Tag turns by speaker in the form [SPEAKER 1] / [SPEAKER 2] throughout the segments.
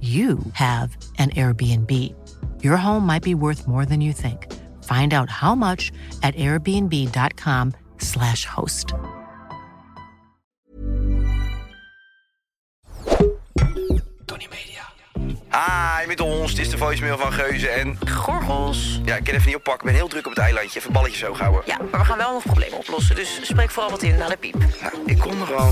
[SPEAKER 1] you have an Airbnb. Your home might be worth more than you think. Find out how much at airbnb.com/slash host.
[SPEAKER 2] Tony Media.
[SPEAKER 3] Hi, met Ah, ons. Dit is de voicemail van Geuze en...
[SPEAKER 4] Gorgels.
[SPEAKER 3] Ja, ik kan even niet oppakken. Ik ben heel druk op het eilandje. Even balletjes hoog houden.
[SPEAKER 4] Ja, maar we gaan wel nog problemen oplossen. Dus spreek vooral wat in naar de piep.
[SPEAKER 3] Nou, ik kom er al.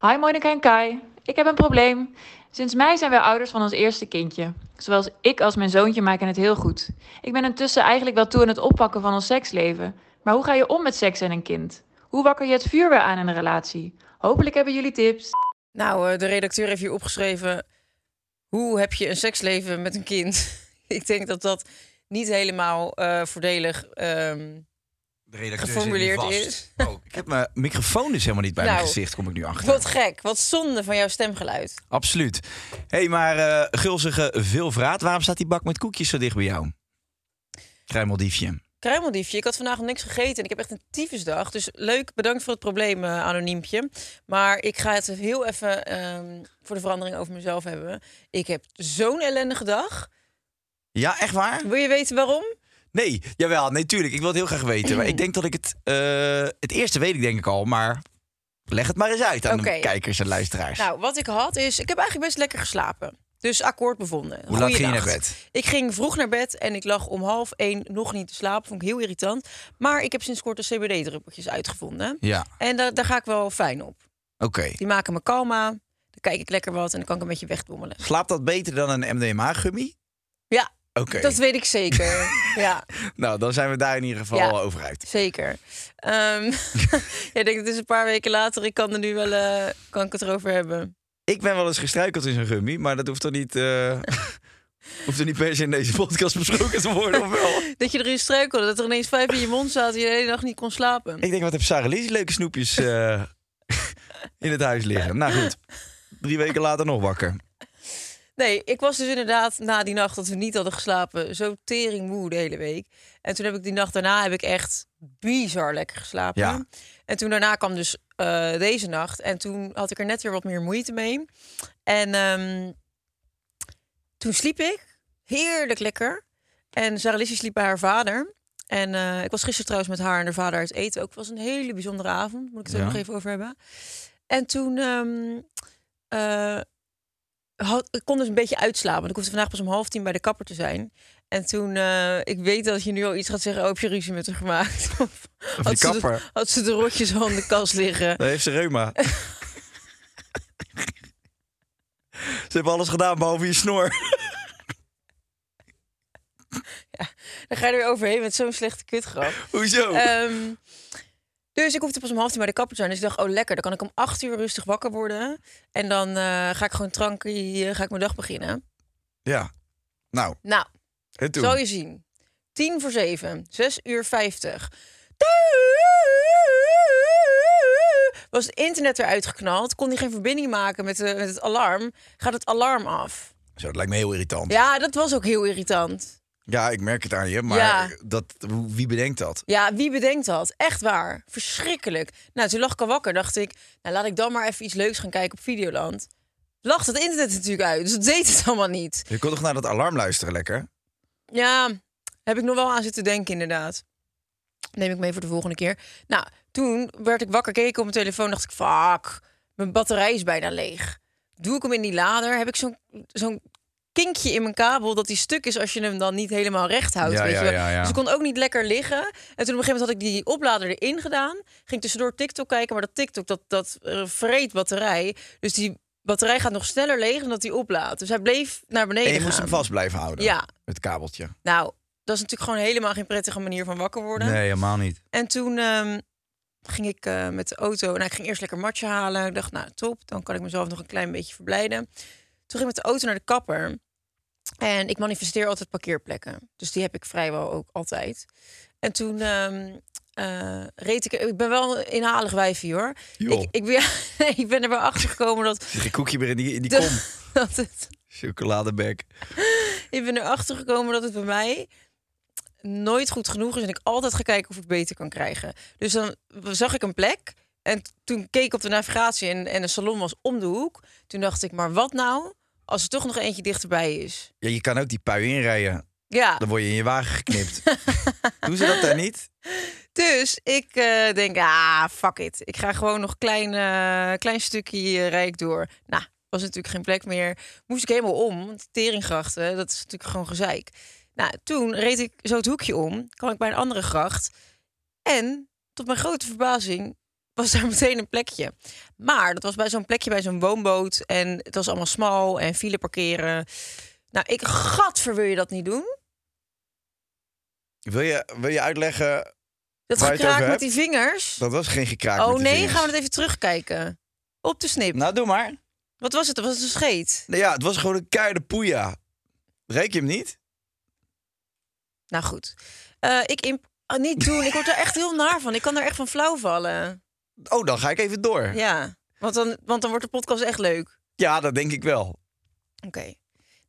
[SPEAKER 5] Hi Monika en Kai, ik heb een probleem. Sinds mei zijn wij ouders van ons eerste kindje. Zowel ik als mijn zoontje maken het heel goed. Ik ben intussen eigenlijk wel toe aan het oppakken van ons seksleven. Maar hoe ga je om met seks en een kind? Hoe wakker je het vuur weer aan in een relatie? Hopelijk hebben jullie tips.
[SPEAKER 6] Nou, eh, de redacteur heeft hier opgeschreven... hoe heb je een seksleven met een kind? Ik denk dat dat niet helemaal eh, voordelig... ehm,
[SPEAKER 2] De redacteur
[SPEAKER 6] Geformuleerd
[SPEAKER 2] zit nu vast.
[SPEAKER 6] is.
[SPEAKER 2] Oh, ik heb mijn microfoon is helemaal niet bij
[SPEAKER 6] Nou,
[SPEAKER 2] mijn gezicht, kom ik nu achter.
[SPEAKER 6] wat gek, wat zonde van jouw stemgeluid.
[SPEAKER 2] Absoluut. Hé, hey, maar eh gulzige veelvraat, waarom staat die bak met koekjes zo dicht bij jou? Kruimeldiefje.
[SPEAKER 6] Kruimeldiefje, ik had vandaag nog niks gegeten en ik heb echt een tyfusdag. Dus leuk, bedankt voor het probleem, eh, anoniempje. Maar ik ga het heel even ehm, voor de verandering over mezelf hebben. Ik heb zo'n ellendige dag.
[SPEAKER 2] Ja, echt waar?
[SPEAKER 6] Wil je weten waarom?
[SPEAKER 2] Nee, jawel, nee, tuurlijk. Ik wil het heel graag weten. Maar ik denk dat ik het... eh, het eerste weet ik denk ik al, maar leg het maar eens uit aan
[SPEAKER 6] Oké.
[SPEAKER 2] de kijkers en luisteraars.
[SPEAKER 6] Nou, wat ik had is, ik heb eigenlijk best lekker geslapen. Dus akkoord bevonden.
[SPEAKER 2] Hoe laat
[SPEAKER 6] Goeienacht.
[SPEAKER 2] ging je naar bed?
[SPEAKER 6] Ik ging vroeg naar bed en ik lag om half één nog niet te slapen. Vond ik heel irritant. Maar ik heb sinds kort de CBD-druppeltjes uitgevonden.
[SPEAKER 2] Ja,
[SPEAKER 6] En da- daar ga ik wel fijn op.
[SPEAKER 2] oké.
[SPEAKER 6] Die maken me kalma. Dan kijk ik lekker wat en dan kan ik een beetje wegdommelen.
[SPEAKER 2] Slaapt dat beter dan een MDMA-gummy?
[SPEAKER 6] Ja,
[SPEAKER 2] Oké,
[SPEAKER 6] dat weet ik zeker. ja,
[SPEAKER 2] nou dan zijn we daar in ieder geval
[SPEAKER 6] Ja.
[SPEAKER 2] over uit.
[SPEAKER 6] zeker. Ehm ja, ik denk, het is een paar weken later. Ik kan er nu wel eh, kan ik het erover hebben.
[SPEAKER 2] Ik ben wel eens gestruikeld in zo'n gummy, maar dat hoeft toch niet, eh, hoeft er niet per se in deze podcast besproken te worden, of wel?
[SPEAKER 6] Dat je erin struikelde, dat er ineens vijf in je mond zaten en je de hele dag niet kon slapen.
[SPEAKER 2] Ik denk, wat heeft Sarah Lies leuke snoepjes eh, in het huis liggen? Nou goed, drie weken later nog wakker.
[SPEAKER 6] Nee, ik was dus inderdaad na die nacht dat we niet hadden geslapen, zo teringmoe de hele week. En toen heb ik die nacht daarna heb ik echt bizar lekker geslapen.
[SPEAKER 2] Ja.
[SPEAKER 6] En toen daarna kwam dus eh, deze nacht. En toen had ik er net weer wat meer moeite mee. En ehm, toen sliep ik heerlijk lekker. En Sarah Lissy sliep bij haar vader. En eh, ik was gisteren trouwens met haar en haar vader uit eten. Ook Het was een hele bijzondere avond. Moet ik het
[SPEAKER 2] Ja.
[SPEAKER 6] ook nog even over hebben. En toen ehm, eh, had, ik kon dus een beetje uitslapen. want Ik hoefde vandaag pas om half tien bij de kapper te zijn. En toen, eh, ik weet dat je nu al iets gaat zeggen, oh, heb je ruzie met haar gemaakt? Of had, ze de,
[SPEAKER 2] kapper.
[SPEAKER 6] had ze de rotjes al in de kast liggen?
[SPEAKER 2] Daar heeft ze reuma. ze hebben alles gedaan behalve je snor.
[SPEAKER 6] Dan ga je er weer overheen met zo'n slechte kutgrap.
[SPEAKER 2] Hoezo?
[SPEAKER 6] Ehm, dus ik hoefde pas om half tien bij de kapper te zijn. Dus ik dacht, oh lekker, dan kan ik om acht uur rustig wakker worden. En dan eh, ga ik gewoon trankie, eh, ga ik mijn dag beginnen.
[SPEAKER 2] ja. Nou,
[SPEAKER 6] Nou,
[SPEAKER 2] en toen?
[SPEAKER 6] Zal je zien. 10 voor 7, 6 uur 50. Was het internet eruit geknald? Kon hij geen verbinding maken met, eh, met het alarm? Gaat het alarm af?
[SPEAKER 2] Zo, dat lijkt me heel irritant. Ja,
[SPEAKER 6] Ja, dat was ook heel irritant.
[SPEAKER 2] ik merk het aan je, maar
[SPEAKER 6] Ja.
[SPEAKER 2] dat, hoe- wie bedenkt dat?
[SPEAKER 6] Ja, wie bedenkt dat? Echt waar. Verschrikkelijk. Nou, toen lag ik al wakker. Dacht ik, nou laat ik dan maar even iets leuks gaan kijken op Videoland. Lacht het internet natuurlijk uit. Dus dat deed het allemaal niet.
[SPEAKER 2] Je kon toch naar dat alarm luisteren, lekker?
[SPEAKER 6] Ja, heb ik nog wel aan zitten denken inderdaad. Neem ik mee voor de volgende keer. Nou, toen werd ik wakker, keek ik op mijn telefoon. Dacht ik, fuck, mijn batterij is bijna leeg. Doe ik hem in die lader? Heb ik zo'n zo'n kinkje in mijn kabel dat die stuk is als je hem dan niet helemaal recht houdt.
[SPEAKER 2] Ja,
[SPEAKER 6] weet
[SPEAKER 2] ja,
[SPEAKER 6] je wel.
[SPEAKER 2] ja, ja.
[SPEAKER 6] Dus ik kon ook niet lekker liggen. En toen op een gegeven moment had ik die oplader erin gedaan. Ging tussendoor TikTok kijken, maar dat TikTok dat, dat eh, vreet batterij. Dus die batterij gaat nog sneller leeg dan dat die oplaadt. Dus hij bleef naar beneden
[SPEAKER 2] En je moest
[SPEAKER 6] gaan.
[SPEAKER 2] hem vast blijven houden.
[SPEAKER 6] Ja.
[SPEAKER 2] Het kabeltje.
[SPEAKER 6] Nou, dat is natuurlijk gewoon helemaal geen prettige manier van wakker worden.
[SPEAKER 2] Nee, helemaal niet.
[SPEAKER 6] En toen ehm, ging ik eh, met de auto. Nou, ik ging eerst lekker matje halen. Ik dacht, nou top, dan kan ik mezelf nog een klein beetje verblijden. Toen ging ik met de auto naar de kapper. En ik manifesteer altijd parkeerplekken. Dus die heb ik vrijwel ook altijd. En toen ehm, eh, reed ik... Ik ben wel een inhalig wijfje, hoor.
[SPEAKER 2] Joh.
[SPEAKER 6] Ik, ik, ben, ik ben er wel achter gekomen dat...
[SPEAKER 2] Zit een koekje weer in die, in die kom.
[SPEAKER 6] dat, dat het,
[SPEAKER 2] Chocoladebek.
[SPEAKER 6] ik ben erachter gekomen dat het bij mij nooit goed genoeg is. En ik altijd ga kijken of ik beter kan krijgen. Dus dan zag ik een plek. En t- toen keek ik op de navigatie en, en de salon was om de hoek. Toen dacht ik, maar wat nou als er toch nog eentje dichterbij is?
[SPEAKER 2] Ja, je kan ook die pui inrijden.
[SPEAKER 6] Ja,
[SPEAKER 2] Dan word je in je wagen geknipt. Doen ze dat daar niet?
[SPEAKER 6] dus ik eh, denk, ah, fuck it. Ik ga gewoon nog klein, eh, klein stukje eh, rijk door. Nou, was natuurlijk geen plek meer. Moest ik helemaal om, want teringgrachten, dat is natuurlijk gewoon gezeik. Nou, toen reed ik zo het hoekje om, kwam ik bij een andere gracht. En tot mijn grote verbazing was daar meteen een plekje. Maar dat was bij zo'n plekje bij zo'n woonboot. En het was allemaal smal en file parkeren. Nou, ik, gadver wil je dat niet doen.
[SPEAKER 2] Wil je, wil je uitleggen,
[SPEAKER 6] Dat
[SPEAKER 2] Waar je het over
[SPEAKER 6] gekraak met
[SPEAKER 2] hebt?
[SPEAKER 6] die vingers.
[SPEAKER 2] dat was geen gekraak
[SPEAKER 6] Oh
[SPEAKER 2] met de
[SPEAKER 6] nee,
[SPEAKER 2] vingers.
[SPEAKER 6] gaan we het even terugkijken. Op de snip.
[SPEAKER 2] Nou, doe maar.
[SPEAKER 6] Wat was het? Was het een scheet?
[SPEAKER 2] Nou ja, het was gewoon een keiharde poeja. Reek je hem niet?
[SPEAKER 6] Nou goed. Eh, ik imp- ah, niet doen. Ik word er echt heel naar van. Ik kan er echt van flauw vallen.
[SPEAKER 2] Oh, dan ga ik even door. Ja,
[SPEAKER 6] Ja, want dan, want dan wordt de podcast echt leuk.
[SPEAKER 2] dat denk ik wel.
[SPEAKER 6] Oké.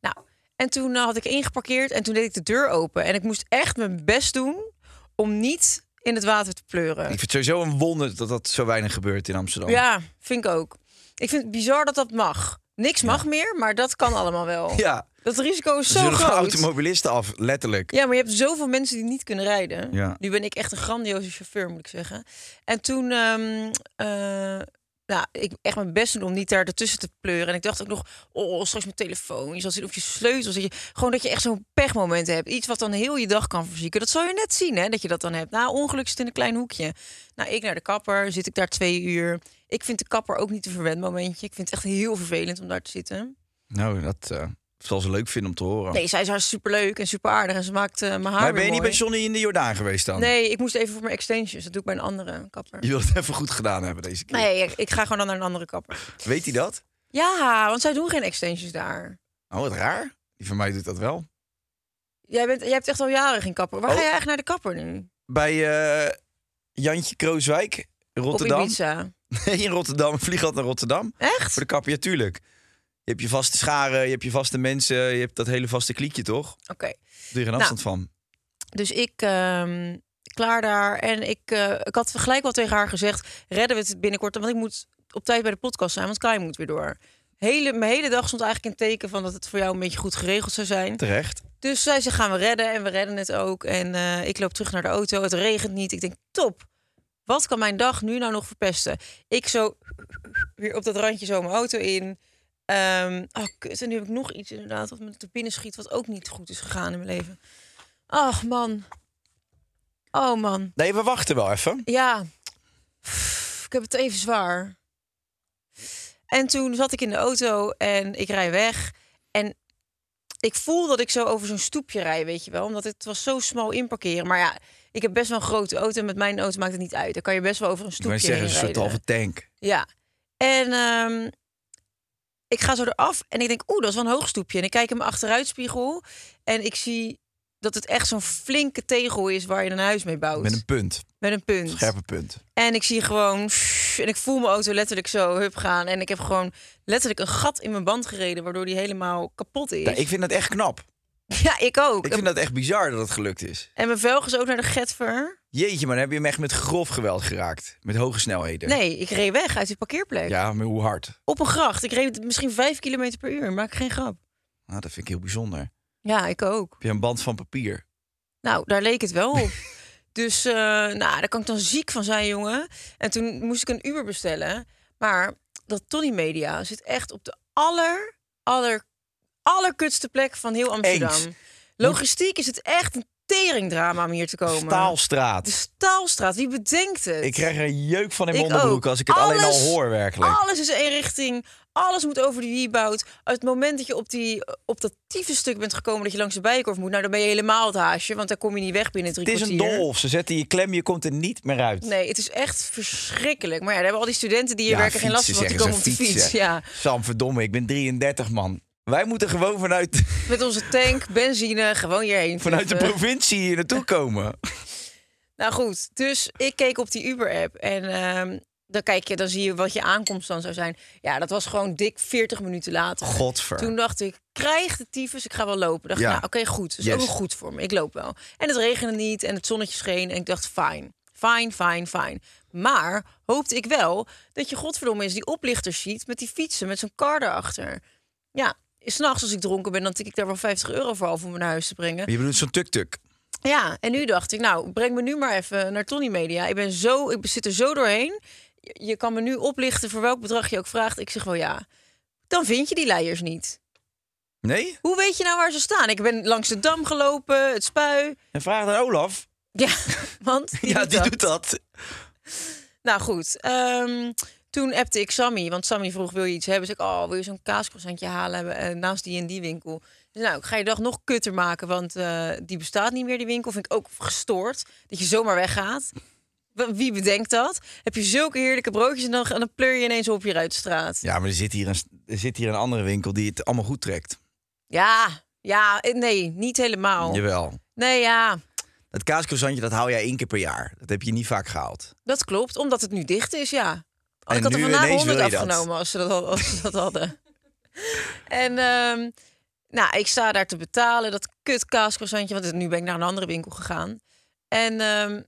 [SPEAKER 6] Nou, en toen eh, had ik ingeparkeerd en toen deed ik de deur open. En ik moest echt mijn best doen om niet in het water te pleuren.
[SPEAKER 2] Ik vind het sowieso een wonder dat dat zo weinig gebeurt in Amsterdam.
[SPEAKER 6] Ja, vind ik ook. Ik vind het bizar dat dat mag. Niks mag meer, maar dat kan allemaal wel.
[SPEAKER 2] Ja.
[SPEAKER 6] Dat risico is
[SPEAKER 2] Ze
[SPEAKER 6] zo
[SPEAKER 2] zullen gewoon
[SPEAKER 6] groot.
[SPEAKER 2] automobilisten af, letterlijk.
[SPEAKER 6] Ja, maar je hebt zoveel mensen die niet kunnen rijden.
[SPEAKER 2] Ja.
[SPEAKER 6] Nu ben ik echt een grandioze chauffeur, moet ik zeggen. En toen, ehm, eh, nou, ik echt mijn best doen om niet daar ertussen te pleuren. En ik dacht ook nog, oh, straks mijn telefoon. Je zal zien of je sleutels. Dat je, gewoon dat je echt zo'n pechmoment hebt. Iets wat dan heel je dag kan verzieken. Dat zal je net zien, hè, dat je dat dan hebt. Nou, ongeluk zit in een klein hoekje. Nou, ik naar de kapper, zit ik daar twee uur. Ik vind de kapper ook niet een verwend momentje. Ik vind het echt heel vervelend om daar te zitten.
[SPEAKER 2] Nou, dat eh, zal ze leuk vinden om te horen.
[SPEAKER 6] Nee, zij is haar superleuk en super aardig. En ze maakt eh, mijn haar
[SPEAKER 2] Oh. maar ben
[SPEAKER 6] weer
[SPEAKER 2] je niet
[SPEAKER 6] mooi.
[SPEAKER 2] bij Johnny in de Jordaan geweest dan?
[SPEAKER 6] Nee, ik moest even voor mijn extensions. Dat doe ik bij een andere kapper.
[SPEAKER 2] Oh. Je wilt het even goed gedaan hebben deze keer.
[SPEAKER 6] Nee, ik, ik ga gewoon dan naar een andere kapper.
[SPEAKER 2] Weet hij dat?
[SPEAKER 6] Ja, want zij doen geen extensions daar.
[SPEAKER 2] Oh, wat raar. Die van mij doet dat wel.
[SPEAKER 6] Jij, bent, jij hebt echt al jaren geen kapper. Waar
[SPEAKER 2] Oh.
[SPEAKER 6] ga jij eigenlijk naar de kapper nu?
[SPEAKER 2] Bij eh, Jantje Krooswijk, Rotterdam.
[SPEAKER 6] Op Ibiza.
[SPEAKER 2] Nee, in Rotterdam. Vliegad naar Rotterdam.
[SPEAKER 6] Echt?
[SPEAKER 2] Voor de kapper, ja, tuurlijk. Je hebt je vaste scharen, je hebt je vaste mensen, je hebt dat hele vaste kliekje, toch?
[SPEAKER 6] Oké.
[SPEAKER 2] Daar doe je geen
[SPEAKER 6] Nou.
[SPEAKER 2] afstand van.
[SPEAKER 6] Dus ik ehm, klaar daar. En ik, eh, ik had gelijk wel tegen haar gezegd... redden we het binnenkort. Want ik moet op tijd bij de podcast zijn, want Kai moet weer door. Hele, mijn hele dag stond eigenlijk in teken van dat het voor jou een beetje goed geregeld zou zijn.
[SPEAKER 2] Terecht.
[SPEAKER 6] Dus zij ze gaan we redden en we redden het ook. En eh, ik loop terug naar de auto. Het regent niet. Ik denk, top. Wat kan mijn dag nu nou nog verpesten? Ik zo weer op dat randje zo mijn auto in. Ehm oh, kut. En nu heb ik nog iets inderdaad wat me te binnen schiet... wat ook niet goed is gegaan in mijn leven. Ach, man. Oh, man.
[SPEAKER 2] Nee, we wachten wel even.
[SPEAKER 6] Ja, Pff, ik heb het even zwaar. En toen zat ik in de auto en ik rij weg. En ik voel dat ik zo over zo'n stoepje rij, weet je wel. Omdat het was zo smal inparkeren. Maar ja, ik heb best wel een grote auto. En met mijn auto maakt het niet uit. Dan kan je best wel over een
[SPEAKER 2] Ik wou
[SPEAKER 6] stoepje
[SPEAKER 2] zeggen, een
[SPEAKER 6] heen
[SPEAKER 2] soort
[SPEAKER 6] rijden.
[SPEAKER 2] halve tank.
[SPEAKER 6] Ja. En ehm, ik ga zo eraf en ik denk, oeh, dat is wel een hoog stoepje. En ik kijk in mijn achteruitspiegel en ik zie dat het echt zo'n flinke tegel is waar je een huis mee bouwt.
[SPEAKER 2] Met een punt.
[SPEAKER 6] Met een punt.
[SPEAKER 2] Scherpe punt.
[SPEAKER 6] En ik zie gewoon... En ik voel mijn auto letterlijk zo hup gaan. En ik heb gewoon letterlijk een gat in mijn band gereden... waardoor die helemaal kapot is.
[SPEAKER 2] Ja, ik vind dat echt knap.
[SPEAKER 6] Ja, ik ook.
[SPEAKER 2] Ik vind dat echt bizar dat het gelukt is.
[SPEAKER 6] En mijn velg is ook naar de getver.
[SPEAKER 2] Jeetje, maar dan heb je hem echt met grof geweld geraakt. Met hoge snelheden.
[SPEAKER 6] Nee, ik reed weg uit die parkeerplek.
[SPEAKER 2] Ja, maar hoe hard?
[SPEAKER 6] Op een gracht. Ik reed misschien vijf kilometer per uur. Maak geen grap.
[SPEAKER 2] Nou, dat vind ik heel bijzonder.
[SPEAKER 6] Ja, ik ook.
[SPEAKER 2] Heb je een band van papier?
[SPEAKER 6] Nou, daar leek het wel op. Dus eh, nou, daar kan ik dan ziek van zijn, jongen. En toen moest ik een Uber bestellen. Maar dat Tony Media zit echt op de aller, aller, allerkutste plek van heel Amsterdam.
[SPEAKER 2] Eens.
[SPEAKER 6] Logistiek is het echt een teringdrama om hier te komen. De
[SPEAKER 2] Staalstraat.
[SPEAKER 6] Staalstraat, wie bedenkt het?
[SPEAKER 2] Ik krijg er een jeuk van in mijn
[SPEAKER 6] Ik
[SPEAKER 2] onderbroek
[SPEAKER 6] ook.
[SPEAKER 2] als ik het alleen al
[SPEAKER 6] Alles-
[SPEAKER 2] hoor, werkelijk.
[SPEAKER 6] Alles is één richting. Alles moet over die wiebout. Het moment dat je op, die, op dat tiefe stuk bent gekomen dat je langs de bijenkorf moet, nou dan ben je helemaal het haasje, want daar kom je niet weg binnen drie
[SPEAKER 2] Het is een
[SPEAKER 6] kwartier.
[SPEAKER 2] dolf. Ze zetten je klem, je komt er niet meer uit.
[SPEAKER 6] Nee, het is echt verschrikkelijk. Maar ja, daar hebben al die studenten die hier
[SPEAKER 2] Ja,
[SPEAKER 6] werken geen last van, want die
[SPEAKER 2] fietsen
[SPEAKER 6] komen op de
[SPEAKER 2] zeggen ze,
[SPEAKER 6] fiets.
[SPEAKER 2] fietsen.
[SPEAKER 6] Ja.
[SPEAKER 2] Sam, verdomme, ik ben 33, man. Wij moeten gewoon vanuit,
[SPEAKER 6] Met onze tank, benzine, gewoon hierheen.
[SPEAKER 2] vanuit de
[SPEAKER 6] vliegen.
[SPEAKER 2] provincie hier naartoe komen.
[SPEAKER 6] Nou goed, dus ik keek op die Uber-app en ehm, dan kijk je, dan zie je wat je aankomst dan zou zijn. Ja, dat was gewoon dik 40 minuten later.
[SPEAKER 2] Godver.
[SPEAKER 6] Toen dacht ik, krijg de tyfus, ik ga wel lopen. Dacht ik,
[SPEAKER 2] Ja.
[SPEAKER 6] nou oké, goed. Dat is
[SPEAKER 2] Yes.
[SPEAKER 6] ook wel goed voor me. Ik loop wel. En het regende niet en het zonnetje scheen. En ik dacht, fijn, fijn, fijn, fijn. Maar hoopte ik wel dat je godverdomme eens die oplichters ziet... met die fietsen, met zo'n kar erachter. Ja, s'nachts als ik dronken ben, dan tik ik daar wel 50 euro voor af... om me naar huis te brengen.
[SPEAKER 2] Je bedoelt zo'n tuk-tuk.
[SPEAKER 6] Ja, en nu dacht ik, nou, breng me nu maar even naar Tony Media. Ik, ben zo, ik zit er zo doorheen. Je- Je kan me nu oplichten voor welk bedrag je ook vraagt. Ik zeg wel ja. Dan vind je die leiers niet.
[SPEAKER 2] Nee?
[SPEAKER 6] Hoe weet je nou waar ze staan? Ik ben langs de dam gelopen, het spui.
[SPEAKER 2] En vraag aan Olaf.
[SPEAKER 6] Ja, want die
[SPEAKER 2] ja,
[SPEAKER 6] doet
[SPEAKER 2] die
[SPEAKER 6] dat.
[SPEAKER 2] doet dat.
[SPEAKER 6] Nou goed, ehm, toen appte ik Sammy. Want Sammy vroeg, wil je iets hebben? Dus ik, oh, wil je zo'n kaascroissantje halen hebben, eh, naast die en die winkel? Dus nou, ik ga je dag nog kutter maken, want eh, die bestaat niet meer, die winkel. Vind ik ook gestoord, dat je zomaar weggaat. Wa- Wie bedenkt dat? Heb je zulke heerlijke broodjes en dan, en dan pleur je ineens op je uit de straat.
[SPEAKER 2] Ja, maar er zit, hier een, er zit hier een andere winkel die het allemaal goed trekt.
[SPEAKER 6] Ja, ja, eh, nee, niet helemaal.
[SPEAKER 2] Jawel.
[SPEAKER 6] Nee, ja,
[SPEAKER 2] Dat kaaskozantje, dat hou jij één keer per jaar. Dat heb je niet vaak gehaald.
[SPEAKER 6] dat klopt, omdat het nu dicht is, ja.
[SPEAKER 2] En
[SPEAKER 6] ik had er
[SPEAKER 2] nu
[SPEAKER 6] vandaag
[SPEAKER 2] ineens wil
[SPEAKER 6] 100
[SPEAKER 2] je dat.
[SPEAKER 6] afgenomen als ze dat, al- als ze dat hadden. en ehm, nou, ik sta daar te betalen, dat kut kaascroissantje, want het- nu ben ik naar een andere winkel gegaan. En ehm,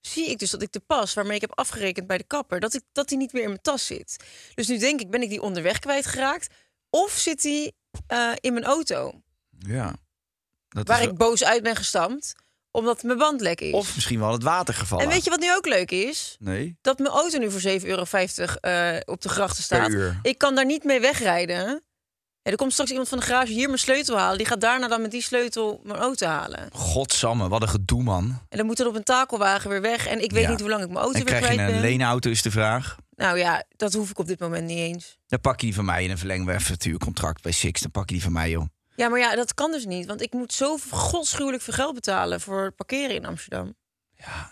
[SPEAKER 6] zie ik dus dat ik de pas waarmee ik heb afgerekend bij de kapper, dat, ik, dat die niet meer in mijn tas zit. Dus nu denk ik, ben ik die onderweg kwijtgeraakt? Of zit die eh, in mijn auto,
[SPEAKER 2] Ja. Dat
[SPEAKER 6] waar
[SPEAKER 2] is-
[SPEAKER 6] ik boos uit ben gestampt, omdat mijn band lek is?
[SPEAKER 2] Of misschien wel het water gevallen.
[SPEAKER 6] en weet je wat nu ook leuk is?
[SPEAKER 2] Nee?
[SPEAKER 6] dat mijn auto nu voor 7,50 euro eh, op de grachten staat.
[SPEAKER 2] uur.
[SPEAKER 6] Ik kan daar niet mee wegrijden. Ja, er komt straks iemand van de garage hier mijn sleutel halen. Die gaat daarna dan met die sleutel mijn auto halen.
[SPEAKER 2] Godsamme, wat een gedoe, man.
[SPEAKER 6] En dan moet het op een takelwagen weer weg. En ik weet
[SPEAKER 2] Ja.
[SPEAKER 6] niet hoe lang ik mijn auto
[SPEAKER 2] En
[SPEAKER 6] weer
[SPEAKER 2] krijg
[SPEAKER 6] kwijt
[SPEAKER 2] je een
[SPEAKER 6] ben.
[SPEAKER 2] leenauto, is de vraag.
[SPEAKER 6] Nou ja, dat hoef ik op dit moment niet eens.
[SPEAKER 2] Dan pak je die van mij en dan verlengen we even het huurcontract bij Six. Dan pak je die van mij, joh.
[SPEAKER 6] Ja, maar ja, dat kan dus niet. Want ik moet zo godschuwelijk veel geld betalen voor parkeren in Amsterdam.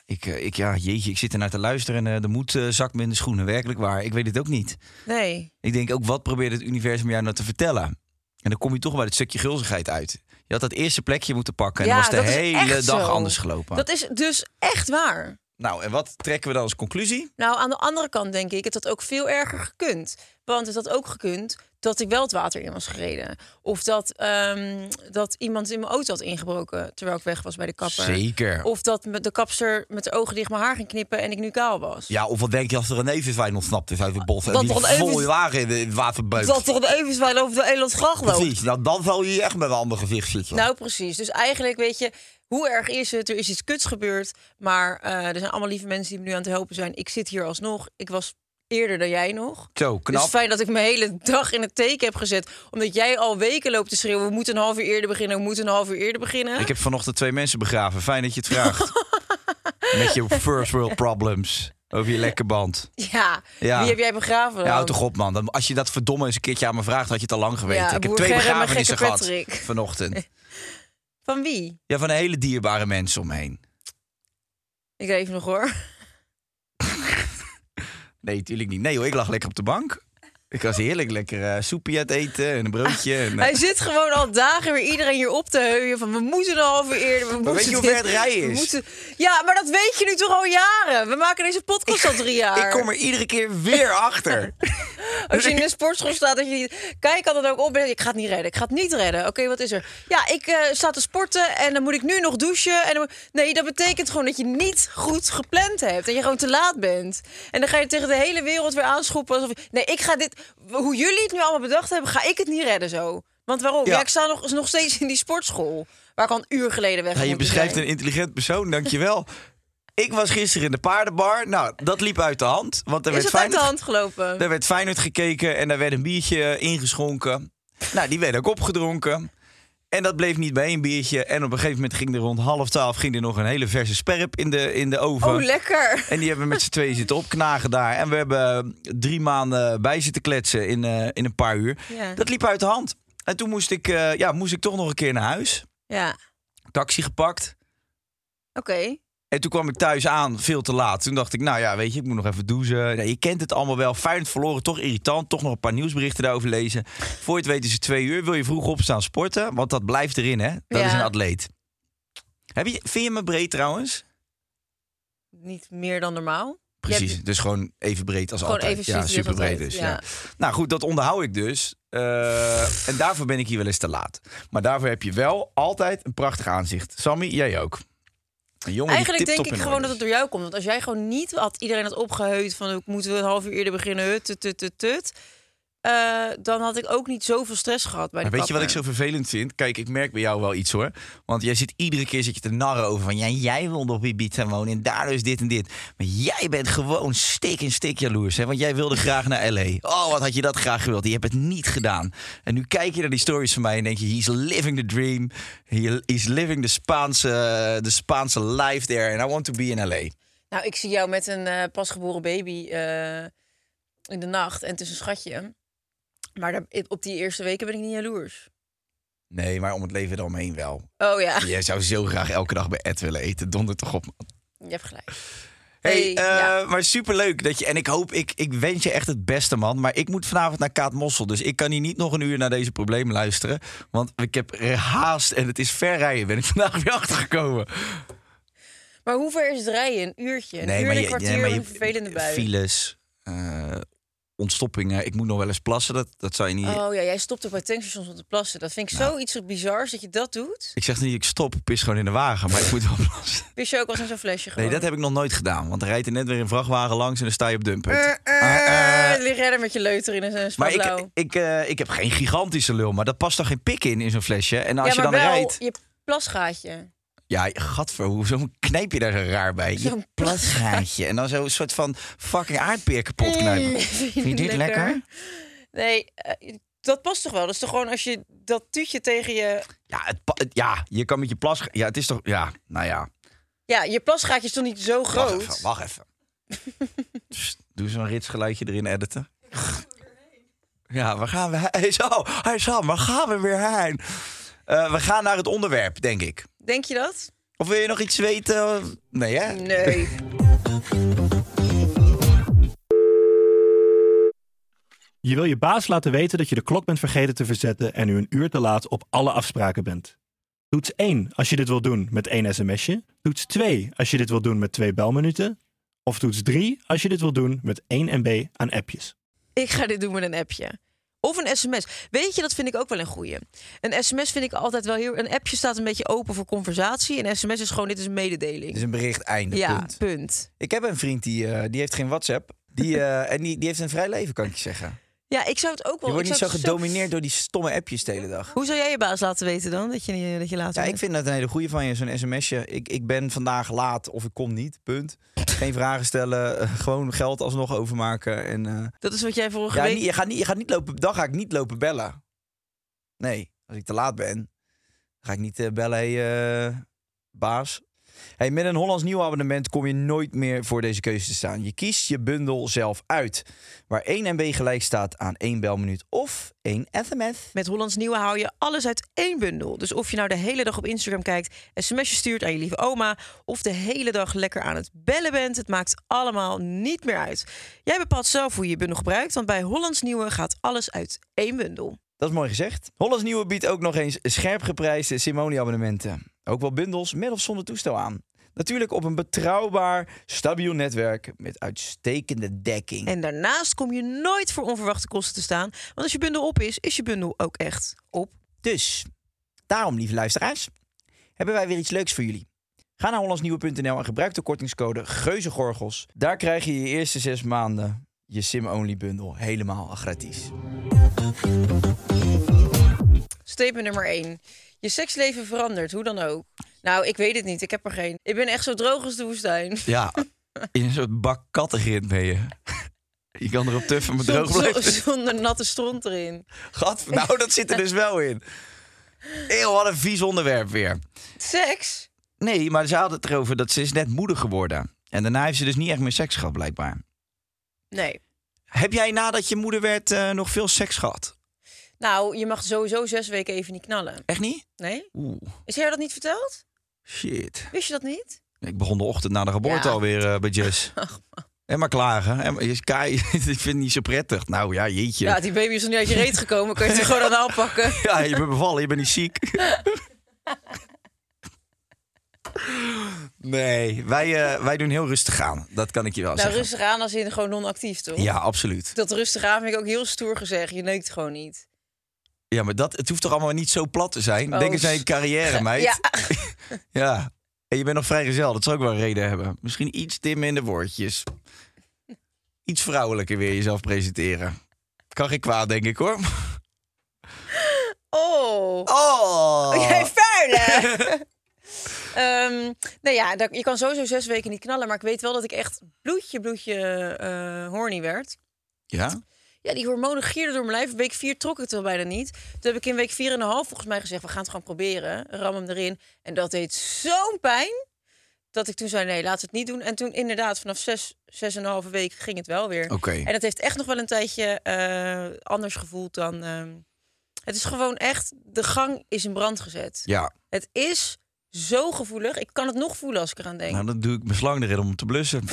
[SPEAKER 2] Ik, eh, ik, ja, jeetje, ik zit ernaar te luisteren en eh, de moed eh, zakt me in de schoenen. Werkelijk waar. Ik weet het ook niet.
[SPEAKER 6] Nee.
[SPEAKER 2] Ik denk ook, wat probeert het universum jou nou te vertellen? En dan kom je toch bij het stukje gulzigheid uit. Je had dat eerste plekje moeten pakken en
[SPEAKER 6] ja,
[SPEAKER 2] dan was
[SPEAKER 6] dat
[SPEAKER 2] de
[SPEAKER 6] is
[SPEAKER 2] hele
[SPEAKER 6] echt
[SPEAKER 2] dag
[SPEAKER 6] zo.
[SPEAKER 2] anders gelopen.
[SPEAKER 6] Dat is dus echt waar.
[SPEAKER 2] Nou, en wat trekken we dan als conclusie?
[SPEAKER 6] Nou, aan de andere kant denk ik, het had ook veel erger gekund. Want het had ook gekund dat ik wel het water in was gereden. Of dat, ehm, dat iemand in mijn auto had ingebroken terwijl ik weg was bij de kapper.
[SPEAKER 2] Zeker.
[SPEAKER 6] Of dat me- de kapster met de ogen dicht mijn haar ging knippen en ik nu kaal was.
[SPEAKER 2] Ja, of wat denk je als er een nevenwijn ontsnapt is uit het bos... en
[SPEAKER 6] Dat
[SPEAKER 2] die
[SPEAKER 6] er een
[SPEAKER 2] vol
[SPEAKER 6] neven-
[SPEAKER 2] je wagen in het water beukt?
[SPEAKER 6] Dat toch de Evenswijn over de Elandsgracht loopt.
[SPEAKER 2] Precies, nou, dan zou je echt met een ander gezicht zitten.
[SPEAKER 6] Nou, precies. Dus eigenlijk weet je, hoe erg is het? Er is iets kuts gebeurd. Maar eh, er zijn allemaal lieve mensen die me nu aan het helpen zijn. Ik zit hier alsnog. Ik was eerder dan jij nog.
[SPEAKER 2] Zo, knap.
[SPEAKER 6] Dus fijn dat ik mijn hele dag in het teken heb gezet. Omdat jij al weken loopt te schreeuwen. We moeten een half uur eerder beginnen. We moeten een half uur eerder beginnen.
[SPEAKER 2] Ik heb vanochtend twee mensen begraven. Fijn dat je het vraagt. Met je first world problems. Over je lekke band.
[SPEAKER 6] Ja.
[SPEAKER 2] Ja.
[SPEAKER 6] Wie heb jij begraven dan?
[SPEAKER 2] Ja, hou toch op, man. Dan- Als je dat verdomme eens een keertje aan me vraagt, had je het al lang geweten.
[SPEAKER 6] Ja,
[SPEAKER 2] ik heb
[SPEAKER 6] boer
[SPEAKER 2] twee
[SPEAKER 6] Gerrit en
[SPEAKER 2] begrafenissen
[SPEAKER 6] gekke
[SPEAKER 2] gehad
[SPEAKER 6] Patrick.
[SPEAKER 2] vanochtend.
[SPEAKER 6] Van wie?
[SPEAKER 2] Ja, van een hele dierbare mensen omheen.
[SPEAKER 6] Ik even nog hoor.
[SPEAKER 2] Nee, tuurlijk niet. Nee hoor, ik lag lekker op de bank. Ik was heerlijk lekker eh, soepie aan het eten en een broodje. En, eh,
[SPEAKER 6] Hij zit gewoon al dagen weer iedereen hier op te heuien. Van we moeten een half uur eerder. We moeten
[SPEAKER 2] weet je hoe
[SPEAKER 6] dit,
[SPEAKER 2] ver het rijden
[SPEAKER 6] we
[SPEAKER 2] is?
[SPEAKER 6] moeten- Ja, maar dat weet je nu toch al jaren. We maken deze podcast al drie jaar.
[SPEAKER 2] ik kom er iedere keer weer achter.
[SPEAKER 6] Als je in de sportschool staat, dat je niet... Kijk, kan het ook op. Ik ga het niet redden. Ik ga het niet redden. Oké, wat is er? Ja, ik eh, sta te sporten en dan moet ik nu nog douchen. En dan- Nee, dat betekent gewoon dat je niet goed gepland hebt. En je gewoon te laat bent. En dan ga je tegen de hele wereld weer aanschoppen. Alsof... Nee, ik ga dit... Hoe jullie het nu allemaal bedacht hebben, ga ik het niet redden zo. Want waarom?
[SPEAKER 2] Ja.
[SPEAKER 6] Ja, ik sta nog, nog steeds in die sportschool. Waar ik al een uur geleden weg
[SPEAKER 2] Ja, je
[SPEAKER 6] moeten
[SPEAKER 2] beschrijft
[SPEAKER 6] zijn.
[SPEAKER 2] een intelligent persoon, dankjewel. Ik was gisteren in de paardenbar. Nou, dat liep uit de hand. Want er
[SPEAKER 6] Is
[SPEAKER 2] werd
[SPEAKER 6] het uit de
[SPEAKER 2] Feyenoord-
[SPEAKER 6] hand gelopen?
[SPEAKER 2] Er werd Feyenoord gekeken en daar werd een biertje eh, ingeschonken. Nou, die werd ook opgedronken. En dat bleef niet bij één biertje. En op een gegeven moment ging er rond half twaalf ging er nog een hele verse sperp in de, in de oven.
[SPEAKER 6] Oh, lekker.
[SPEAKER 2] en die hebben met z'n tweeën zitten opknagen daar. En we hebben eh, drie maanden bij zitten kletsen in, eh, in een paar uur.
[SPEAKER 6] Ja.
[SPEAKER 2] Dat liep uit de hand. En toen moest ik, eh, ja, moest ik toch nog een keer naar huis.
[SPEAKER 6] Ja, oké.
[SPEAKER 2] Taxi gepakt. En toen kwam ik thuis aan, veel te laat. Toen dacht ik, nou ja, weet je, ik moet nog even douchen. Nou, je kent het allemaal wel. Feyenoord verloren, toch irritant. Toch nog een paar nieuwsberichten daarover lezen. Voor je het weet is het twee uur. Wil je vroeg opstaan sporten? Want dat blijft erin, hè? Dat
[SPEAKER 6] Ja.
[SPEAKER 2] is een atleet. Heb je, vind je me breed trouwens?
[SPEAKER 6] Niet meer dan normaal.
[SPEAKER 2] Precies,
[SPEAKER 6] Je hebt-
[SPEAKER 2] dus gewoon even breed als
[SPEAKER 6] Gewoon
[SPEAKER 2] altijd.
[SPEAKER 6] even
[SPEAKER 2] ja,
[SPEAKER 6] precies als
[SPEAKER 2] super breed
[SPEAKER 6] altijd,
[SPEAKER 2] dus. Ja.
[SPEAKER 6] ja.
[SPEAKER 2] Nou goed, dat onderhoud ik dus. Eh, en daarvoor ben ik hier wel eens te laat. Maar daarvoor heb je wel altijd een prachtig aanzicht. Sammy, jij ook. Een jongen die
[SPEAKER 6] Eigenlijk denk
[SPEAKER 2] tip-top
[SPEAKER 6] ik
[SPEAKER 2] in
[SPEAKER 6] gewoon
[SPEAKER 2] orde
[SPEAKER 6] dat het door jou komt. Want als jij gewoon niet had, iedereen had opgeheut van ik moeten we een half uur eerder beginnen, hut, tut, tut, tut, tut. eh, dan had ik ook niet zoveel stress gehad bij de
[SPEAKER 2] Maar weet je wat ik
[SPEAKER 6] kapper.
[SPEAKER 2] zo vervelend vind? Kijk, ik merk bij jou wel iets hoor. Want jij zit iedere keer zit je te narren over van... Ja, jij wilde op Ibiza wonen en daar is dit en dit. Maar jij bent gewoon steek in steek jaloers. Hè? Want jij wilde graag naar L.A. Oh, wat had je dat graag gewild. Je hebt het niet gedaan. En nu kijk je naar die stories van mij en denk je... He's living the dream. He is living the Spaanse, the Spaanse life there. And I want to be in L.A.
[SPEAKER 6] Nou, ik zie jou met een eh, pasgeboren baby eh, in de nacht en tussen schatje. Maar daar- op die eerste weken ben ik niet jaloers.
[SPEAKER 2] Nee, maar om het leven eromheen wel.
[SPEAKER 6] Oh ja,
[SPEAKER 2] Jij zou zo graag elke dag bij Ed willen eten. Donder toch op, man.
[SPEAKER 6] je hebt gelijk.
[SPEAKER 2] Hey,
[SPEAKER 6] Hey, ja.
[SPEAKER 2] eh, maar superleuk dat je. En ik hoop, ik, ik wens je echt het beste, man. Maar ik moet vanavond naar Kaat Mossel. Dus ik kan hier niet nog een uur naar deze problemen luisteren. Want ik heb er haast en het is ver rijden. Ben ik vandaag weer achtergekomen.
[SPEAKER 6] Maar hoe ver is het rijden? Een uurtje? Een uur en een kwartier met een vervelende bui.
[SPEAKER 2] Files, eh, ontstoppingen. Ik moet nog wel eens plassen. Dat, dat zou je niet.
[SPEAKER 6] Oh ja, jij stopt ook bij tankstations om te plassen. Dat vind ik
[SPEAKER 2] Nou.
[SPEAKER 6] zoiets bizars dat je dat doet.
[SPEAKER 2] Ik zeg niet, ik stop, ik pis gewoon in de wagen. Maar ik moet wel plassen.
[SPEAKER 6] Wist je ook wel eens in zo'n flesje gewoon?
[SPEAKER 2] Nee, dat heb ik nog nooit gedaan. Want er rijdt er net weer een vrachtwagen langs en dan sta je op dumpen.
[SPEAKER 6] Eh, eh, lig jij er met je leuter in en een
[SPEAKER 2] Ah, Maar
[SPEAKER 6] smablauw.
[SPEAKER 2] ik, ik, eh, ik heb geen gigantische lul, maar dat past toch geen pik in in zo'n flesje. En als
[SPEAKER 6] ja,
[SPEAKER 2] je
[SPEAKER 6] maar
[SPEAKER 2] dan
[SPEAKER 6] wel
[SPEAKER 2] rijdt.
[SPEAKER 6] je plasgaatje.
[SPEAKER 2] Ja, gadver, hoe zo'n knijp je daar zo raar bij? Je
[SPEAKER 6] Zo'n
[SPEAKER 2] plasgaatje. En dan zo'n soort van fucking aardpeer kapot knijpen.
[SPEAKER 6] Mm,
[SPEAKER 2] Vind je dit lekker?
[SPEAKER 6] Nee, eh, dat past toch wel? Dat is toch gewoon als je dat tuutje tegen je...
[SPEAKER 2] Ja, het, pa- het- ja, je kan met je plas... Ja, het is toch... Ja, nou ja.
[SPEAKER 6] Ja, je plasgaatje is toch niet zo
[SPEAKER 2] Wacht
[SPEAKER 6] groot?
[SPEAKER 2] even, wacht even. Psst, doe zo'n ritsgeluidje erin editen. Ja, waar gaan we heen? Zo, hij is aan, waar gaan we weer heen? Eh, we gaan naar het onderwerp, denk ik.
[SPEAKER 6] Denk je dat?
[SPEAKER 2] Of wil je nog iets weten? Nee, hè?
[SPEAKER 6] Nee.
[SPEAKER 7] Je wil je baas laten weten dat je de klok bent vergeten te verzetten en u een uur te laat op alle afspraken bent. Toets 1 als je dit wil doen met één sms'je. Toets 2 als je dit wil doen met twee belminuten. Of toets 3 als je dit wil doen met 1 MB aan appjes.
[SPEAKER 6] ik ga dit doen met een appje. Of een sms. Weet je, dat vind ik ook wel een goeie. Een sms vind ik altijd wel heel... Een appje staat een beetje open voor conversatie. Een sms is gewoon, dit is een mededeling.
[SPEAKER 2] Het is een bericht einde,
[SPEAKER 6] ja,
[SPEAKER 2] punt.
[SPEAKER 6] punt.
[SPEAKER 2] Ik heb een vriend die, eh, die heeft geen WhatsApp. Die, eh, en die, die heeft een vrij leven, kan ik je zeggen.
[SPEAKER 6] Ja, ik zou het ook wel...
[SPEAKER 2] Je wordt
[SPEAKER 6] ik
[SPEAKER 2] niet zo
[SPEAKER 6] zou het zelf-
[SPEAKER 2] gedomineerd door die stomme appjes de hele dag.
[SPEAKER 6] Hoe zou jij je baas laten weten dan? Dat je, niet- dat je later
[SPEAKER 2] Ja, ik
[SPEAKER 6] bent?
[SPEAKER 2] vind dat een hele goeie van je, zo'n sms'je. Ik, ik ben vandaag laat of ik kom niet, punt. Geen vragen stellen, eh, gewoon geld alsnog overmaken. En, eh,
[SPEAKER 6] Dat is wat jij vorige
[SPEAKER 2] ja,
[SPEAKER 6] week...
[SPEAKER 2] niet- je, gaat niet, je gaat niet lopen, dan ga ik niet lopen bellen. Nee, als ik te laat ben, ga ik niet eh, bellen, hé eh, baas. Hey, met een Hollands nieuw abonnement kom je nooit meer voor deze keuze te staan. Je kiest je bundel zelf uit, waar 1 MB gelijk staat aan 1 belminuut of 1 sms.
[SPEAKER 6] Met Hollands Nieuwe haal je alles uit één bundel. Dus of je nou de hele dag op Instagram kijkt, sms'jes stuurt aan je lieve oma... of de hele dag lekker aan het bellen bent, het maakt allemaal niet meer uit. Jij bepaalt zelf hoe je je bundel gebruikt... want bij Hollands Nieuwe gaat alles uit één bundel.
[SPEAKER 2] Dat is mooi gezegd. Hollands Nieuwe biedt ook nog eens scherp geprijsde Simonie-abonnementen. Ook wel bundels met of zonder toestel aan. Natuurlijk op een betrouwbaar, stabiel netwerk met uitstekende dekking.
[SPEAKER 6] En daarnaast kom je nooit voor onverwachte kosten te staan... want als je bundel op is, is je bundel ook echt op.
[SPEAKER 2] Dus, daarom lieve luisteraars, hebben wij weer iets leuks voor jullie. Ga naar hollandsnieuwe.nl en gebruik de kortingscode GEUZEGORGELS. Daar krijg je je eerste zes maanden je SIM-only bundel helemaal gratis.
[SPEAKER 6] Statement nummer 1. Je seksleven verandert, hoe dan ook. Nou, ik weet het niet. Ik heb er geen. Ik ben echt zo droog als de woestijn.
[SPEAKER 2] Ja, in een soort bak kattengrind ben je. Je kan erop tuffen, maar droog
[SPEAKER 6] Zonder-
[SPEAKER 2] blijft.
[SPEAKER 6] zonder natte stront erin.
[SPEAKER 2] Gat, nou, dat zit er dus wel in. Eeuw, wat een vies onderwerp weer.
[SPEAKER 6] Seks?
[SPEAKER 2] Nee, maar ze had het erover dat ze is net moeder geworden. En daarna heeft ze dus niet echt meer seks gehad, blijkbaar.
[SPEAKER 6] Nee.
[SPEAKER 2] Heb jij nadat je moeder werd eh, nog veel seks gehad?
[SPEAKER 6] Nou, je mag sowieso zes weken even niet knallen.
[SPEAKER 2] Echt niet?
[SPEAKER 6] Nee?
[SPEAKER 2] Oeh,
[SPEAKER 6] Is jij dat niet verteld?
[SPEAKER 2] shit.
[SPEAKER 6] Wist je dat niet?
[SPEAKER 2] Ik begon de ochtend na de geboorte
[SPEAKER 6] Ja. Oh,
[SPEAKER 2] alweer eh, bij Jess. En maar klagen. En, maar- Kai, ik vind het niet zo prettig. Nou ja, jeetje.
[SPEAKER 6] Ja, die baby is nog niet uit je reet gekomen. Kun je het er gewoon aan aanpakken?
[SPEAKER 2] Ja, je bent bevallen, je bent niet ziek. Nee, wij, eh, wij doen heel rustig aan. Dat kan ik je wel
[SPEAKER 6] Nou,
[SPEAKER 2] zeggen.
[SPEAKER 6] rustig aan als in gewoon non-actief, toch?
[SPEAKER 2] Ja, absoluut.
[SPEAKER 6] Dat rustig aan vind ik ook heel stoer gezegd. Je neukt gewoon niet.
[SPEAKER 2] Ja, maar dat, het hoeft toch allemaal niet zo plat te zijn?
[SPEAKER 6] Oh.
[SPEAKER 2] Denk eens aan je carrière, meid.
[SPEAKER 6] Ja,
[SPEAKER 2] Ja. En je bent nog vrijgezel, dat zou ook wel een reden hebben. Misschien iets dimmen in de woordjes. Iets vrouwelijker weer jezelf presenteren. Kan geen kwaad, denk ik, hoor.
[SPEAKER 6] oh.
[SPEAKER 2] Oh!
[SPEAKER 6] Jij vuile! Ehm nou ja, dat- je kan sowieso zes weken niet knallen. Maar ik weet wel dat ik echt bloedje, bloedje eh, horny werd.
[SPEAKER 2] Ja?
[SPEAKER 6] Ja, die hormonen gierden door mijn lijf. Week 4 trok ik het wel bijna niet. Toen heb ik in week 4,5 volgens mij gezegd... we gaan het gewoon proberen, ram hem erin. En dat deed zo'n pijn dat ik toen zei... nee, laat het niet doen. En toen inderdaad, vanaf 6, 6,5 week ging het wel weer.
[SPEAKER 2] Oké.
[SPEAKER 6] En dat heeft echt nog wel een tijdje eh, anders gevoeld dan... ehm, het is gewoon echt... de gang is in brand gezet.
[SPEAKER 2] Ja.
[SPEAKER 6] Het is zo gevoelig. Ik kan het nog voelen als ik eraan denk.
[SPEAKER 2] Nou, dan doe ik mijn slang erin om te blussen.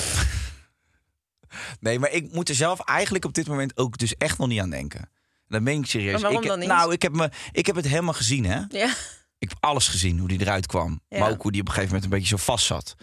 [SPEAKER 2] nee, maar ik moet er zelf eigenlijk op dit moment ook dus echt nog niet aan denken. Dan ben ik serieus.
[SPEAKER 6] Maar waarom
[SPEAKER 2] ik,
[SPEAKER 6] dan niet?
[SPEAKER 2] Nou, ik heb, me, ik heb het helemaal gezien, hè.
[SPEAKER 6] ja.
[SPEAKER 2] Ik heb alles gezien, hoe die eruit kwam.
[SPEAKER 6] Ja.
[SPEAKER 2] Maar ook hoe die op een gegeven moment een beetje zo vast zat.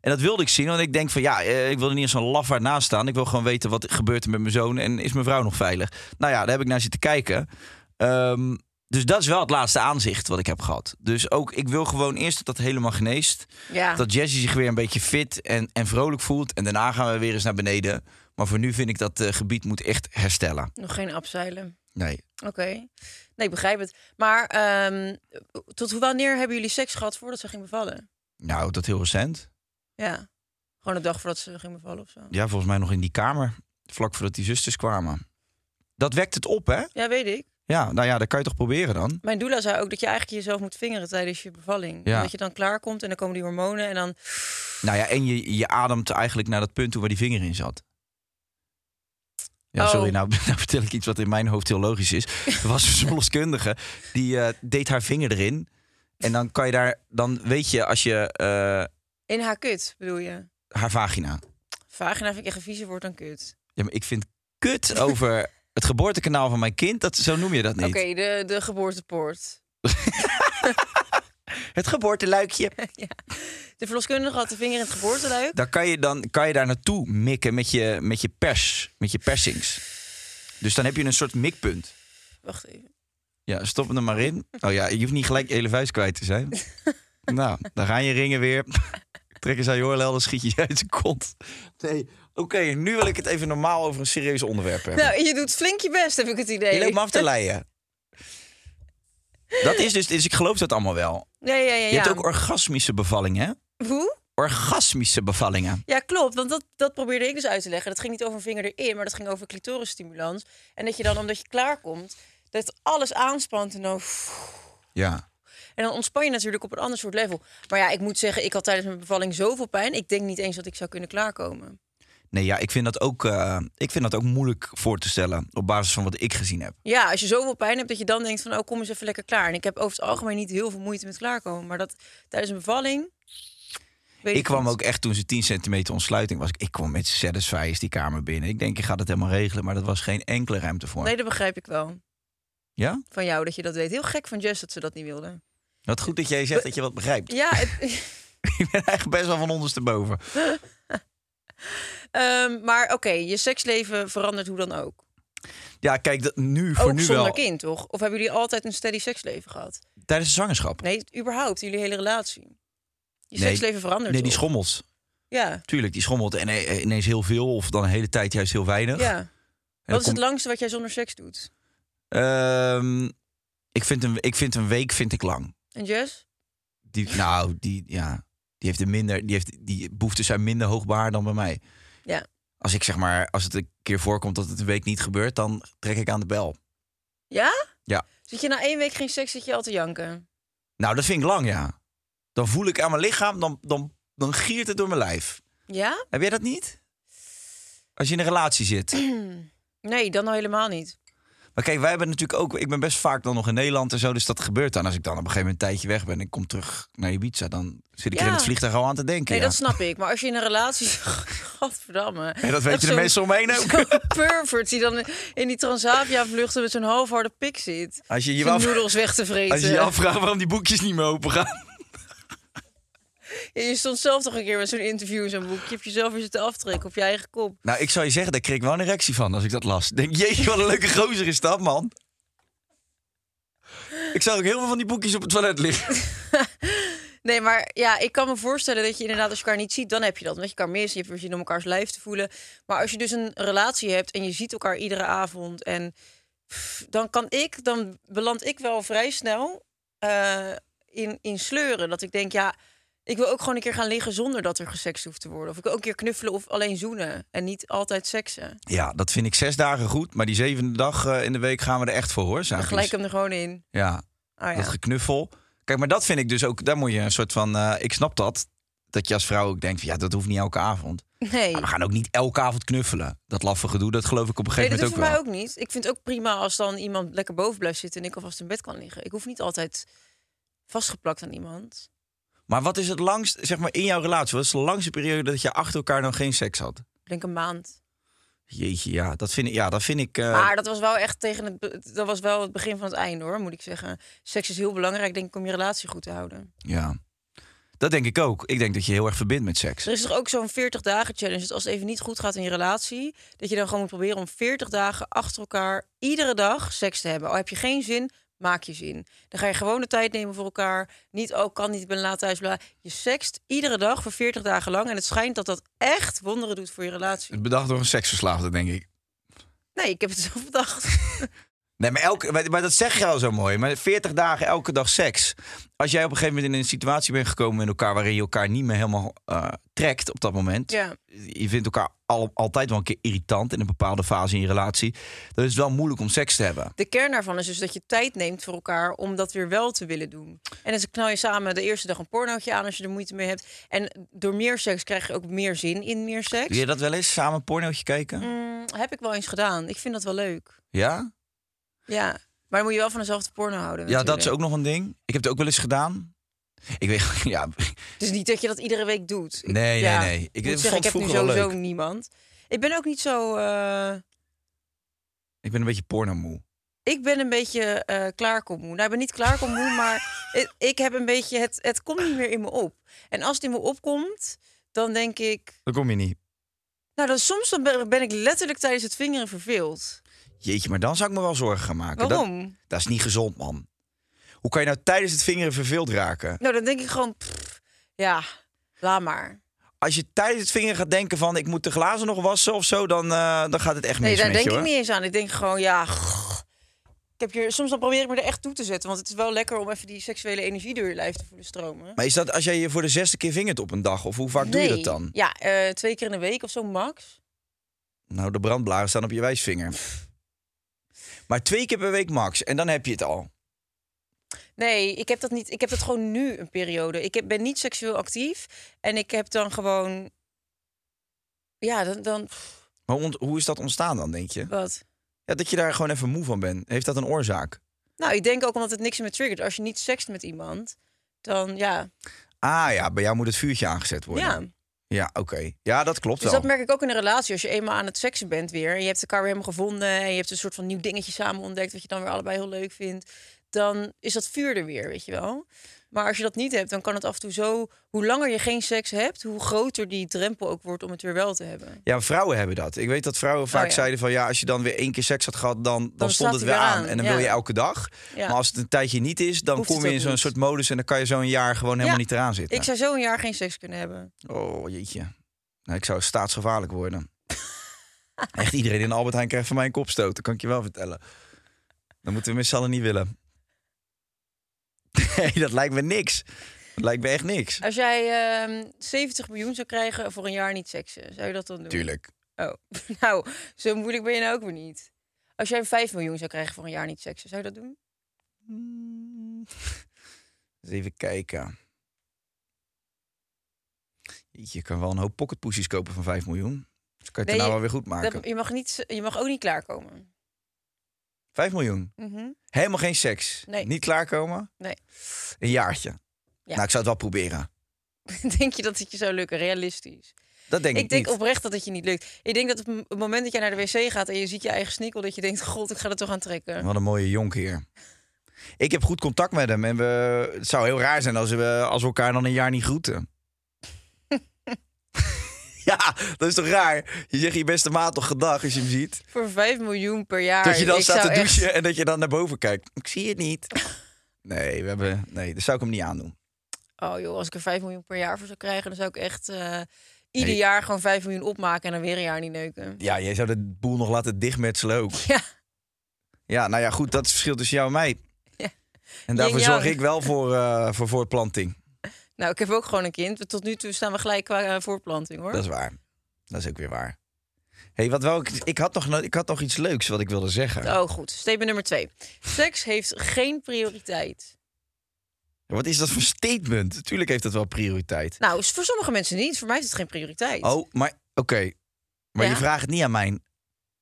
[SPEAKER 2] En dat wilde ik zien, want ik denk van ja, eh, ik wil er niet als zo'n lafaard naast staan. Ik wil gewoon weten wat gebeurt er met mijn zoon en is mijn vrouw nog veilig. Nou ja, daar heb ik naar zitten kijken. Ehm, dus dat is wel het laatste aanzicht wat ik heb gehad. Dus ook, ik wil gewoon eerst dat dat helemaal geneest.
[SPEAKER 6] ja.
[SPEAKER 2] Dat Jesse zich weer een beetje fit en, en vrolijk voelt. En daarna gaan we weer eens naar beneden. Maar voor nu vind ik dat eh, gebied moet echt herstellen.
[SPEAKER 6] Nog geen abzeilen.
[SPEAKER 2] Nee.
[SPEAKER 6] Oké. Nee, ik begrijp het. Maar ehm, tot hoe- wanneer hebben jullie seks gehad voordat ze ging bevallen?
[SPEAKER 2] Nou, dat heel recent.
[SPEAKER 6] Ja. Gewoon de dag voordat ze ging bevallen of zo.
[SPEAKER 2] Ja, volgens mij nog in die kamer. Vlak voordat die zusters kwamen. Dat wekt het op, hè?
[SPEAKER 6] Ja, weet ik.
[SPEAKER 2] Ja, nou ja, dat kan je toch proberen dan?
[SPEAKER 6] Mijn doula zei ook dat je eigenlijk jezelf moet vingeren tijdens je bevalling.
[SPEAKER 2] Ja.
[SPEAKER 6] Dat je dan klaar komt en dan komen die hormonen en dan...
[SPEAKER 2] Nou ja, en je, je ademt eigenlijk naar dat punt toe waar die vinger in zat. Ja,
[SPEAKER 6] Oh.
[SPEAKER 2] sorry, nou, nou vertel ik iets wat in mijn hoofd heel logisch is. Er was dus een verloskundige, die eh, deed haar vinger erin. En dan kan je daar, dan weet je als je eh,
[SPEAKER 6] In haar kut, bedoel je?
[SPEAKER 2] haar vagina.
[SPEAKER 6] Vagina vind ik echt een vieze woord dan kut.
[SPEAKER 2] Ja, maar ik vind kut over het geboortekanaal van mijn kind. Dat, zo noem je dat niet.
[SPEAKER 6] Oké, de, de geboortepoort.
[SPEAKER 2] Het geboorteluikje.
[SPEAKER 6] De verloskundige had de vinger in het geboorteluik.
[SPEAKER 2] Daar kan je, dan kan je daar naartoe mikken met je, met je pers, met je persings. Dus dan heb je een soort mikpunt.
[SPEAKER 6] Wacht even.
[SPEAKER 2] Ja, stop hem er maar in. Oh ja, je hoeft niet gelijk je hele vuist kwijt te zijn. nou, dan gaan je ringen weer. Trek eens aan je oorlel, dan schiet je je uit de kont. Nee, oké, nu wil ik het even normaal over een serieus onderwerp hebben.
[SPEAKER 6] Nou, je doet flink je best, heb ik het idee.
[SPEAKER 2] je loopt me af te leiden. Dat is dus, dus ik geloof dat allemaal wel.
[SPEAKER 6] Ja, ja, ja. ja.
[SPEAKER 2] Je hebt ook orgasmische bevallingen, hè?
[SPEAKER 6] Hoe?
[SPEAKER 2] orgasmische bevallingen.
[SPEAKER 6] Ja, klopt. Want dat, dat probeerde ik dus uit te leggen. Dat ging niet over een vinger erin, maar dat ging over clitorisstimulans. En dat je dan, omdat je klaar komt, dat alles aanspant en dan...
[SPEAKER 2] Ja.
[SPEAKER 6] En dan ontspan je natuurlijk op een ander soort level. Maar ja, ik moet zeggen, ik had tijdens mijn bevalling zoveel pijn. Ik denk niet eens dat ik zou kunnen klaarkomen.
[SPEAKER 2] Nee, ja, ik vind, dat ook, eh, ik vind dat ook moeilijk voor te stellen op basis van wat ik gezien heb.
[SPEAKER 6] Ja, als je zoveel pijn hebt dat je dan denkt van, oh, kom eens even lekker klaar. En ik heb over het algemeen niet heel veel moeite met klaarkomen. Maar dat tijdens een bevalling... weet
[SPEAKER 2] Ik kwam
[SPEAKER 6] niet.
[SPEAKER 2] ook echt toen ze 10 centimeter ontsluiting was. Ik kwam met Satisfyers die kamer binnen. Ik denk, je gaat het helemaal regelen, maar dat was geen enkele ruimte voor.
[SPEAKER 6] Nee, dat begrijp ik wel.
[SPEAKER 2] Ja?
[SPEAKER 6] Van jou dat je dat weet. Heel gek van Jess dat ze dat niet wilde.
[SPEAKER 2] Wat goed dat jij zegt dat je wat begrijpt.
[SPEAKER 6] Ja, het,
[SPEAKER 2] Ik ben eigenlijk best wel van ondersteboven.
[SPEAKER 6] Ehm, maar oké, je seksleven verandert hoe dan ook.
[SPEAKER 2] Ja, kijk, dat, nu voor
[SPEAKER 6] ook
[SPEAKER 2] nu
[SPEAKER 6] zonder
[SPEAKER 2] wel.
[SPEAKER 6] kind, toch? Of hebben jullie altijd een steady seksleven gehad?
[SPEAKER 2] Tijdens de zwangerschap.
[SPEAKER 6] Nee, überhaupt, jullie hele relatie. Je
[SPEAKER 2] Nee.
[SPEAKER 6] seksleven verandert
[SPEAKER 2] Nee, die
[SPEAKER 6] toch?
[SPEAKER 2] schommelt.
[SPEAKER 6] Ja,
[SPEAKER 2] Tuurlijk, die schommelt en eh, ineens heel veel of dan een hele tijd juist heel weinig. En
[SPEAKER 6] ja.
[SPEAKER 2] dan
[SPEAKER 6] Wat is het
[SPEAKER 2] komt-
[SPEAKER 6] langste wat jij zonder seks doet?
[SPEAKER 2] Ehm, Ik vind een, ik vind een week vind ik lang.
[SPEAKER 6] En Jess?
[SPEAKER 2] Die, nou, die, ja, die heeft een minder, die heeft, die behoeften zijn minder hoogbaar dan bij mij.
[SPEAKER 6] Ja.
[SPEAKER 2] Als ik zeg maar, als het een keer voorkomt dat het een week niet gebeurt, dan trek ik aan de bel.
[SPEAKER 6] Ja?
[SPEAKER 2] Ja.
[SPEAKER 6] Zit je na één week geen seks, zit je al te janken?
[SPEAKER 2] Nou, dat vind ik lang, ja. Dan voel ik aan mijn lichaam, dan, dan, dan giert het door mijn lijf.
[SPEAKER 6] Ja?
[SPEAKER 2] Heb jij dat niet? Als je in een relatie zit.
[SPEAKER 6] Nee, dan al helemaal niet.
[SPEAKER 2] Maar kijk, wij hebben natuurlijk ook... Ik ben best vaak dan nog in Nederland en zo, dus dat gebeurt dan. Als ik dan op een gegeven moment een tijdje weg ben en ik kom terug naar Ibiza... dan zit ik er
[SPEAKER 6] Ja.
[SPEAKER 2] in het vliegtuig al aan te denken.
[SPEAKER 6] Nee,
[SPEAKER 2] ja.
[SPEAKER 6] dat snap ik. Maar als je in een relatie... Godverdamme.
[SPEAKER 2] En dat
[SPEAKER 6] Echt
[SPEAKER 2] weten de
[SPEAKER 6] zo'n-
[SPEAKER 2] mensen om me heen ook.
[SPEAKER 6] Zo'n pervert die dan in die Transavia-vluchten met zo'n halfharde pik zit.
[SPEAKER 2] Als je je
[SPEAKER 6] Zijn
[SPEAKER 2] af-
[SPEAKER 6] noedels weg te vreten.
[SPEAKER 2] Als je je afvraagt waarom die boekjes niet meer open gaan.
[SPEAKER 6] Ja, je stond zelf toch een keer met zo'n interview in zo'n boek. Je hebt jezelf weer zitten aftrekken op je eigen kop.
[SPEAKER 2] Nou, ik zou je zeggen, daar kreeg ik wel een erectie van als ik dat las. Ik Denk, jeetje, wat een leuke gozer is dat, man. Ik zag ook heel veel van die boekjes op het toilet liggen.
[SPEAKER 6] Nee, maar ja, ik kan me voorstellen dat je inderdaad als je elkaar niet ziet, dan heb je dat. Omdat je elkaar mist, je hebt misschien om elkaars lijf te voelen. Maar als je dus een relatie hebt en je ziet elkaar iedere avond en pff, dan kan ik, dan beland ik wel vrij snel eh, in, in sleuren. Dat ik denk, ja, ik wil ook gewoon een keer gaan liggen zonder dat er gesext hoeft te worden. Of ik wil ook een keer knuffelen of alleen zoenen en niet altijd seksen.
[SPEAKER 2] Ja, dat vind ik zes dagen goed. Maar die zevende dag eh, in de week gaan we er echt voor, hoor.
[SPEAKER 6] Dan
[SPEAKER 2] zaakjes.
[SPEAKER 6] gelijk hem er gewoon in.
[SPEAKER 2] Ja,
[SPEAKER 6] Ah ja.
[SPEAKER 2] dus dat geknuffel. Kijk, maar dat vind ik dus ook... Daar moet je een soort van... eh, ik snap dat. Dat je als vrouw ook denkt van... Ja, dat hoeft niet elke avond.
[SPEAKER 6] Nee.
[SPEAKER 2] Maar we gaan ook niet elke avond knuffelen. Dat laffe gedoe, dat geloof ik op een
[SPEAKER 6] Nee,
[SPEAKER 2] gegeven
[SPEAKER 6] dat hoeft
[SPEAKER 2] moment
[SPEAKER 6] voor
[SPEAKER 2] ook wel.
[SPEAKER 6] mij ook niet. Ik vind het ook prima als dan iemand lekker boven blijft zitten en ik alvast in bed kan liggen. Ik hoef niet altijd vastgeplakt aan iemand.
[SPEAKER 2] Maar wat is het langst, zeg maar in jouw relatie, wat is de langste periode dat je achter elkaar nog geen seks had?
[SPEAKER 6] Ik denk een maand.
[SPEAKER 2] Jeetje, ja, dat vind ik. Ja, dat vind ik eh,
[SPEAKER 6] maar dat was wel echt tegen het, be- dat was wel het begin van het einde hoor, moet ik zeggen. Seks is heel belangrijk, denk ik, om je relatie goed te houden.
[SPEAKER 2] ja. Dat denk ik ook. Ik denk dat je heel erg verbindt met seks.
[SPEAKER 6] Er is toch ook zo'n 40 dagen challenge. Dat als het even niet goed gaat in je relatie, dat je dan gewoon moet proberen om 40 dagen achter elkaar iedere dag seks te hebben. Al heb je geen zin, maak je zin. Dan ga je gewoon de tijd nemen voor elkaar. Niet ook kan niet, ik ben laat thuis. Bla. Je sekst iedere dag voor 40 dagen lang en het schijnt dat dat echt wonderen doet voor je relatie.
[SPEAKER 2] Het bedacht door een seksverslaafde, denk ik.
[SPEAKER 6] Nee, ik heb het zelf bedacht.
[SPEAKER 2] Nee, maar, elke, maar maar dat zeg je al zo mooi. Maar 40 dagen elke dag seks. Als jij op een gegeven moment in een situatie bent gekomen met elkaar waarin je elkaar niet meer helemaal eh, trekt op dat moment.
[SPEAKER 6] Ja.
[SPEAKER 2] Je vindt elkaar al, altijd wel een keer irritant in een bepaalde fase in je relatie. Dan is het wel moeilijk om seks te hebben.
[SPEAKER 6] De kern daarvan is dus dat je tijd neemt voor elkaar om dat weer wel te willen doen. En dan knal je samen de eerste dag een pornootje aan als je er moeite mee hebt. En door meer seks krijg je ook meer zin in meer seks.
[SPEAKER 2] Wil je dat wel eens samen een pornootje kijken?
[SPEAKER 6] Mm, heb ik wel eens gedaan. Ik vind dat wel leuk.
[SPEAKER 2] Ja?
[SPEAKER 6] Ja. Maar dan moet je wel van dezelfde porno houden.
[SPEAKER 2] Ja, dat is
[SPEAKER 6] natuurlijk.
[SPEAKER 2] ook nog een ding. Ik heb het ook wel eens gedaan. Ik weet, ja,
[SPEAKER 6] Dus niet dat je dat iedere week doet. Ik-
[SPEAKER 2] Nee, nee,
[SPEAKER 6] ja,
[SPEAKER 2] nee. Ik-
[SPEAKER 6] Ik,
[SPEAKER 2] dat
[SPEAKER 6] moet zeggen, ik heb
[SPEAKER 2] vond
[SPEAKER 6] nu
[SPEAKER 2] vroeger wel
[SPEAKER 6] sowieso
[SPEAKER 2] leuk.
[SPEAKER 6] niemand. Ik ben ook niet zo. eh,
[SPEAKER 2] ik ben een beetje pornomoe.
[SPEAKER 6] ik ben een beetje eh klaarkommoe. Nou, ik ben niet klaarkommoe, maar ik, ik heb een beetje. Het, het komt niet meer in me op. En als het in me opkomt, dan denk ik.
[SPEAKER 2] Dan kom je niet.
[SPEAKER 6] Nou, dan soms dan ben, ben ik letterlijk tijdens het vingeren verveeld.
[SPEAKER 2] Jeetje, maar dan zou ik me wel zorgen gaan maken.
[SPEAKER 6] Waarom?
[SPEAKER 2] Dat, dat is niet gezond, man. Hoe kan je nou tijdens het vingeren verveeld raken?
[SPEAKER 6] Nou, dan denk ik gewoon. pff, ja, laat maar.
[SPEAKER 2] Als je tijdens het vingeren gaat denken van... ik moet de glazen nog wassen of zo, dan, eh, dan gaat het echt
[SPEAKER 6] Nee,
[SPEAKER 2] mis
[SPEAKER 6] daar
[SPEAKER 2] met
[SPEAKER 6] denk
[SPEAKER 2] je,
[SPEAKER 6] ik
[SPEAKER 2] hoor.
[SPEAKER 6] niet eens aan. Ik denk gewoon, ja. grrr. Ik heb hier, soms dan probeer ik me er echt toe te zetten. Want het is wel lekker om even die seksuele energie door je lijf te voelen stromen.
[SPEAKER 2] Maar is dat als jij je voor de zesde keer vingert op een dag? Of hoe vaak doe je
[SPEAKER 6] Nee.
[SPEAKER 2] dat dan?
[SPEAKER 6] Ja, eh, twee keer in de week of zo, max.
[SPEAKER 2] Nou, de brandblaren staan op je wijsvinger. Maar twee keer per week max. En dan heb je het al.
[SPEAKER 6] Nee, ik heb dat niet. Ik heb dat gewoon nu een periode. Ik heb, ben niet seksueel actief. En ik heb dan gewoon. Ja, dan. dan pff,
[SPEAKER 2] Maar ont- hoe is dat ontstaan dan, denk je?
[SPEAKER 6] wat?
[SPEAKER 2] Ja, dat je daar gewoon even moe van bent. Heeft dat een oorzaak?
[SPEAKER 6] Nou, ik denk ook omdat het niks meer triggert. Als je niet sekst met iemand, dan ja.
[SPEAKER 2] Ah ja, bij jou moet het vuurtje aangezet worden.
[SPEAKER 6] Ja.
[SPEAKER 2] Ja, oké. Ja, dat klopt
[SPEAKER 6] Dus
[SPEAKER 2] wel.
[SPEAKER 6] dat merk ik ook in een relatie. Als je eenmaal aan het seksen bent weer... en je hebt elkaar weer helemaal gevonden... en je hebt een soort van nieuw dingetje samen ontdekt... wat je dan weer allebei heel leuk vindt... dan is dat vuur er weer, weet je wel. Maar als je dat niet hebt, dan kan het af en toe zo... hoe langer je geen seks hebt... hoe groter die drempel ook wordt om het weer wel te hebben. Dan,
[SPEAKER 2] Ja, maar vrouwen hebben dat. Ik weet dat vrouwen vaak
[SPEAKER 6] Oh ja.
[SPEAKER 2] zeiden van... ja, als je dan weer één keer seks had gehad, dan, dan,
[SPEAKER 6] Dan
[SPEAKER 2] stond
[SPEAKER 6] staat
[SPEAKER 2] het
[SPEAKER 6] hij
[SPEAKER 2] weer
[SPEAKER 6] weer
[SPEAKER 2] aan.
[SPEAKER 6] aan,
[SPEAKER 2] En dan
[SPEAKER 6] ja.
[SPEAKER 2] wil je elke dag.
[SPEAKER 6] Ja.
[SPEAKER 2] Maar als het een tijdje niet is, dan
[SPEAKER 6] Hoeft
[SPEAKER 2] kom
[SPEAKER 6] het
[SPEAKER 2] je
[SPEAKER 6] ook
[SPEAKER 2] in zo'n
[SPEAKER 6] niet.
[SPEAKER 2] soort modus... en dan kan je zo een jaar gewoon helemaal niet eraan zitten.
[SPEAKER 6] Ik zou zo een jaar geen seks kunnen hebben.
[SPEAKER 2] Oh, jeetje. Nou, ik zou staatsgevaarlijk worden. Echt iedereen in Albert Heijn krijgt van mij een kopstoot. Dat kan ik je wel vertellen. Dan moeten we met z'n allen niet willen. Nee, dat lijkt me niks. Dat lijkt me echt niks.
[SPEAKER 6] Als jij ehm, 70 miljoen zou krijgen voor een jaar niet seksen, zou je dat dan doen?
[SPEAKER 2] Tuurlijk.
[SPEAKER 6] Oh, nou, zo moeilijk ben je nou ook weer niet. Als jij 5 miljoen zou krijgen voor een jaar niet seksen, zou je dat doen?
[SPEAKER 2] Eens even kijken. Je kan wel een hoop pocketpoesies kopen van 5 miljoen. Dus kan je het
[SPEAKER 6] Nee,
[SPEAKER 2] daarna
[SPEAKER 6] je-
[SPEAKER 2] wel weer goed maken.
[SPEAKER 6] Dat, je, mag niet, je mag ook niet klaarkomen.
[SPEAKER 2] 5 miljoen.
[SPEAKER 6] Mhm.
[SPEAKER 2] Helemaal geen seks.
[SPEAKER 6] Nee.
[SPEAKER 2] Niet klaarkomen.
[SPEAKER 6] Nee.
[SPEAKER 2] Een jaartje.
[SPEAKER 6] Ja.
[SPEAKER 2] Nou, ik zou het wel proberen.
[SPEAKER 6] Denk je dat het je zou lukken? Realistisch.
[SPEAKER 2] Dat denk ik,
[SPEAKER 6] ik denk
[SPEAKER 2] niet.
[SPEAKER 6] oprecht dat het je niet lukt. Ik denk dat op het moment dat jij naar de wc gaat en je ziet je eigen snikkel, dat je denkt: God, ik ga dat toch aan trekken.
[SPEAKER 2] Wat een mooie jonkheer. Ik heb goed contact met hem. En we, het zou heel raar zijn als we, als we elkaar dan een jaar niet groeten. ja, dat is toch raar? Je zegt je beste maat toch gedag als je hem ziet.
[SPEAKER 6] Voor 5 miljoen per jaar.
[SPEAKER 2] dat je dan
[SPEAKER 6] ik
[SPEAKER 2] staat te
[SPEAKER 6] zou echt-
[SPEAKER 2] douchen en dat je dan naar boven kijkt. Ik zie het niet. Nee, we hebben, nee dat zou ik hem niet aandoen.
[SPEAKER 6] Oh joh, als ik er 5 miljoen per jaar voor zou krijgen, dan zou ik echt eh, ieder
[SPEAKER 2] Nee.
[SPEAKER 6] jaar gewoon 5 miljoen opmaken en dan weer een jaar niet neuken.
[SPEAKER 2] Ja, jij zou de boel nog laten dichtmetselen ook.
[SPEAKER 6] Ja,
[SPEAKER 2] Ja, nou ja, goed, dat is het verschil tussen jou en mij.
[SPEAKER 6] Ja.
[SPEAKER 2] En daarvoor
[SPEAKER 6] Yin-yang.
[SPEAKER 2] zorg ik wel voor, eh, voor voortplanting.
[SPEAKER 6] nou, ik heb ook gewoon een kind. Tot nu toe staan we gelijk qua eh, voortplanting hoor.
[SPEAKER 2] Dat is waar. Dat is ook weer waar. hey, wat wel, ik, ik, had nog, no- ik had nog iets leuks wat ik wilde zeggen.
[SPEAKER 6] Oh goed, statement nummer 2. Seks heeft geen prioriteit.
[SPEAKER 2] Wat is dat voor statement? Natuurlijk heeft dat wel prioriteit.
[SPEAKER 6] Nou, is voor sommige mensen niet, voor mij is het geen prioriteit.
[SPEAKER 2] Oh, maar oké. Maar
[SPEAKER 6] Ja.
[SPEAKER 2] je vraagt het niet aan mij.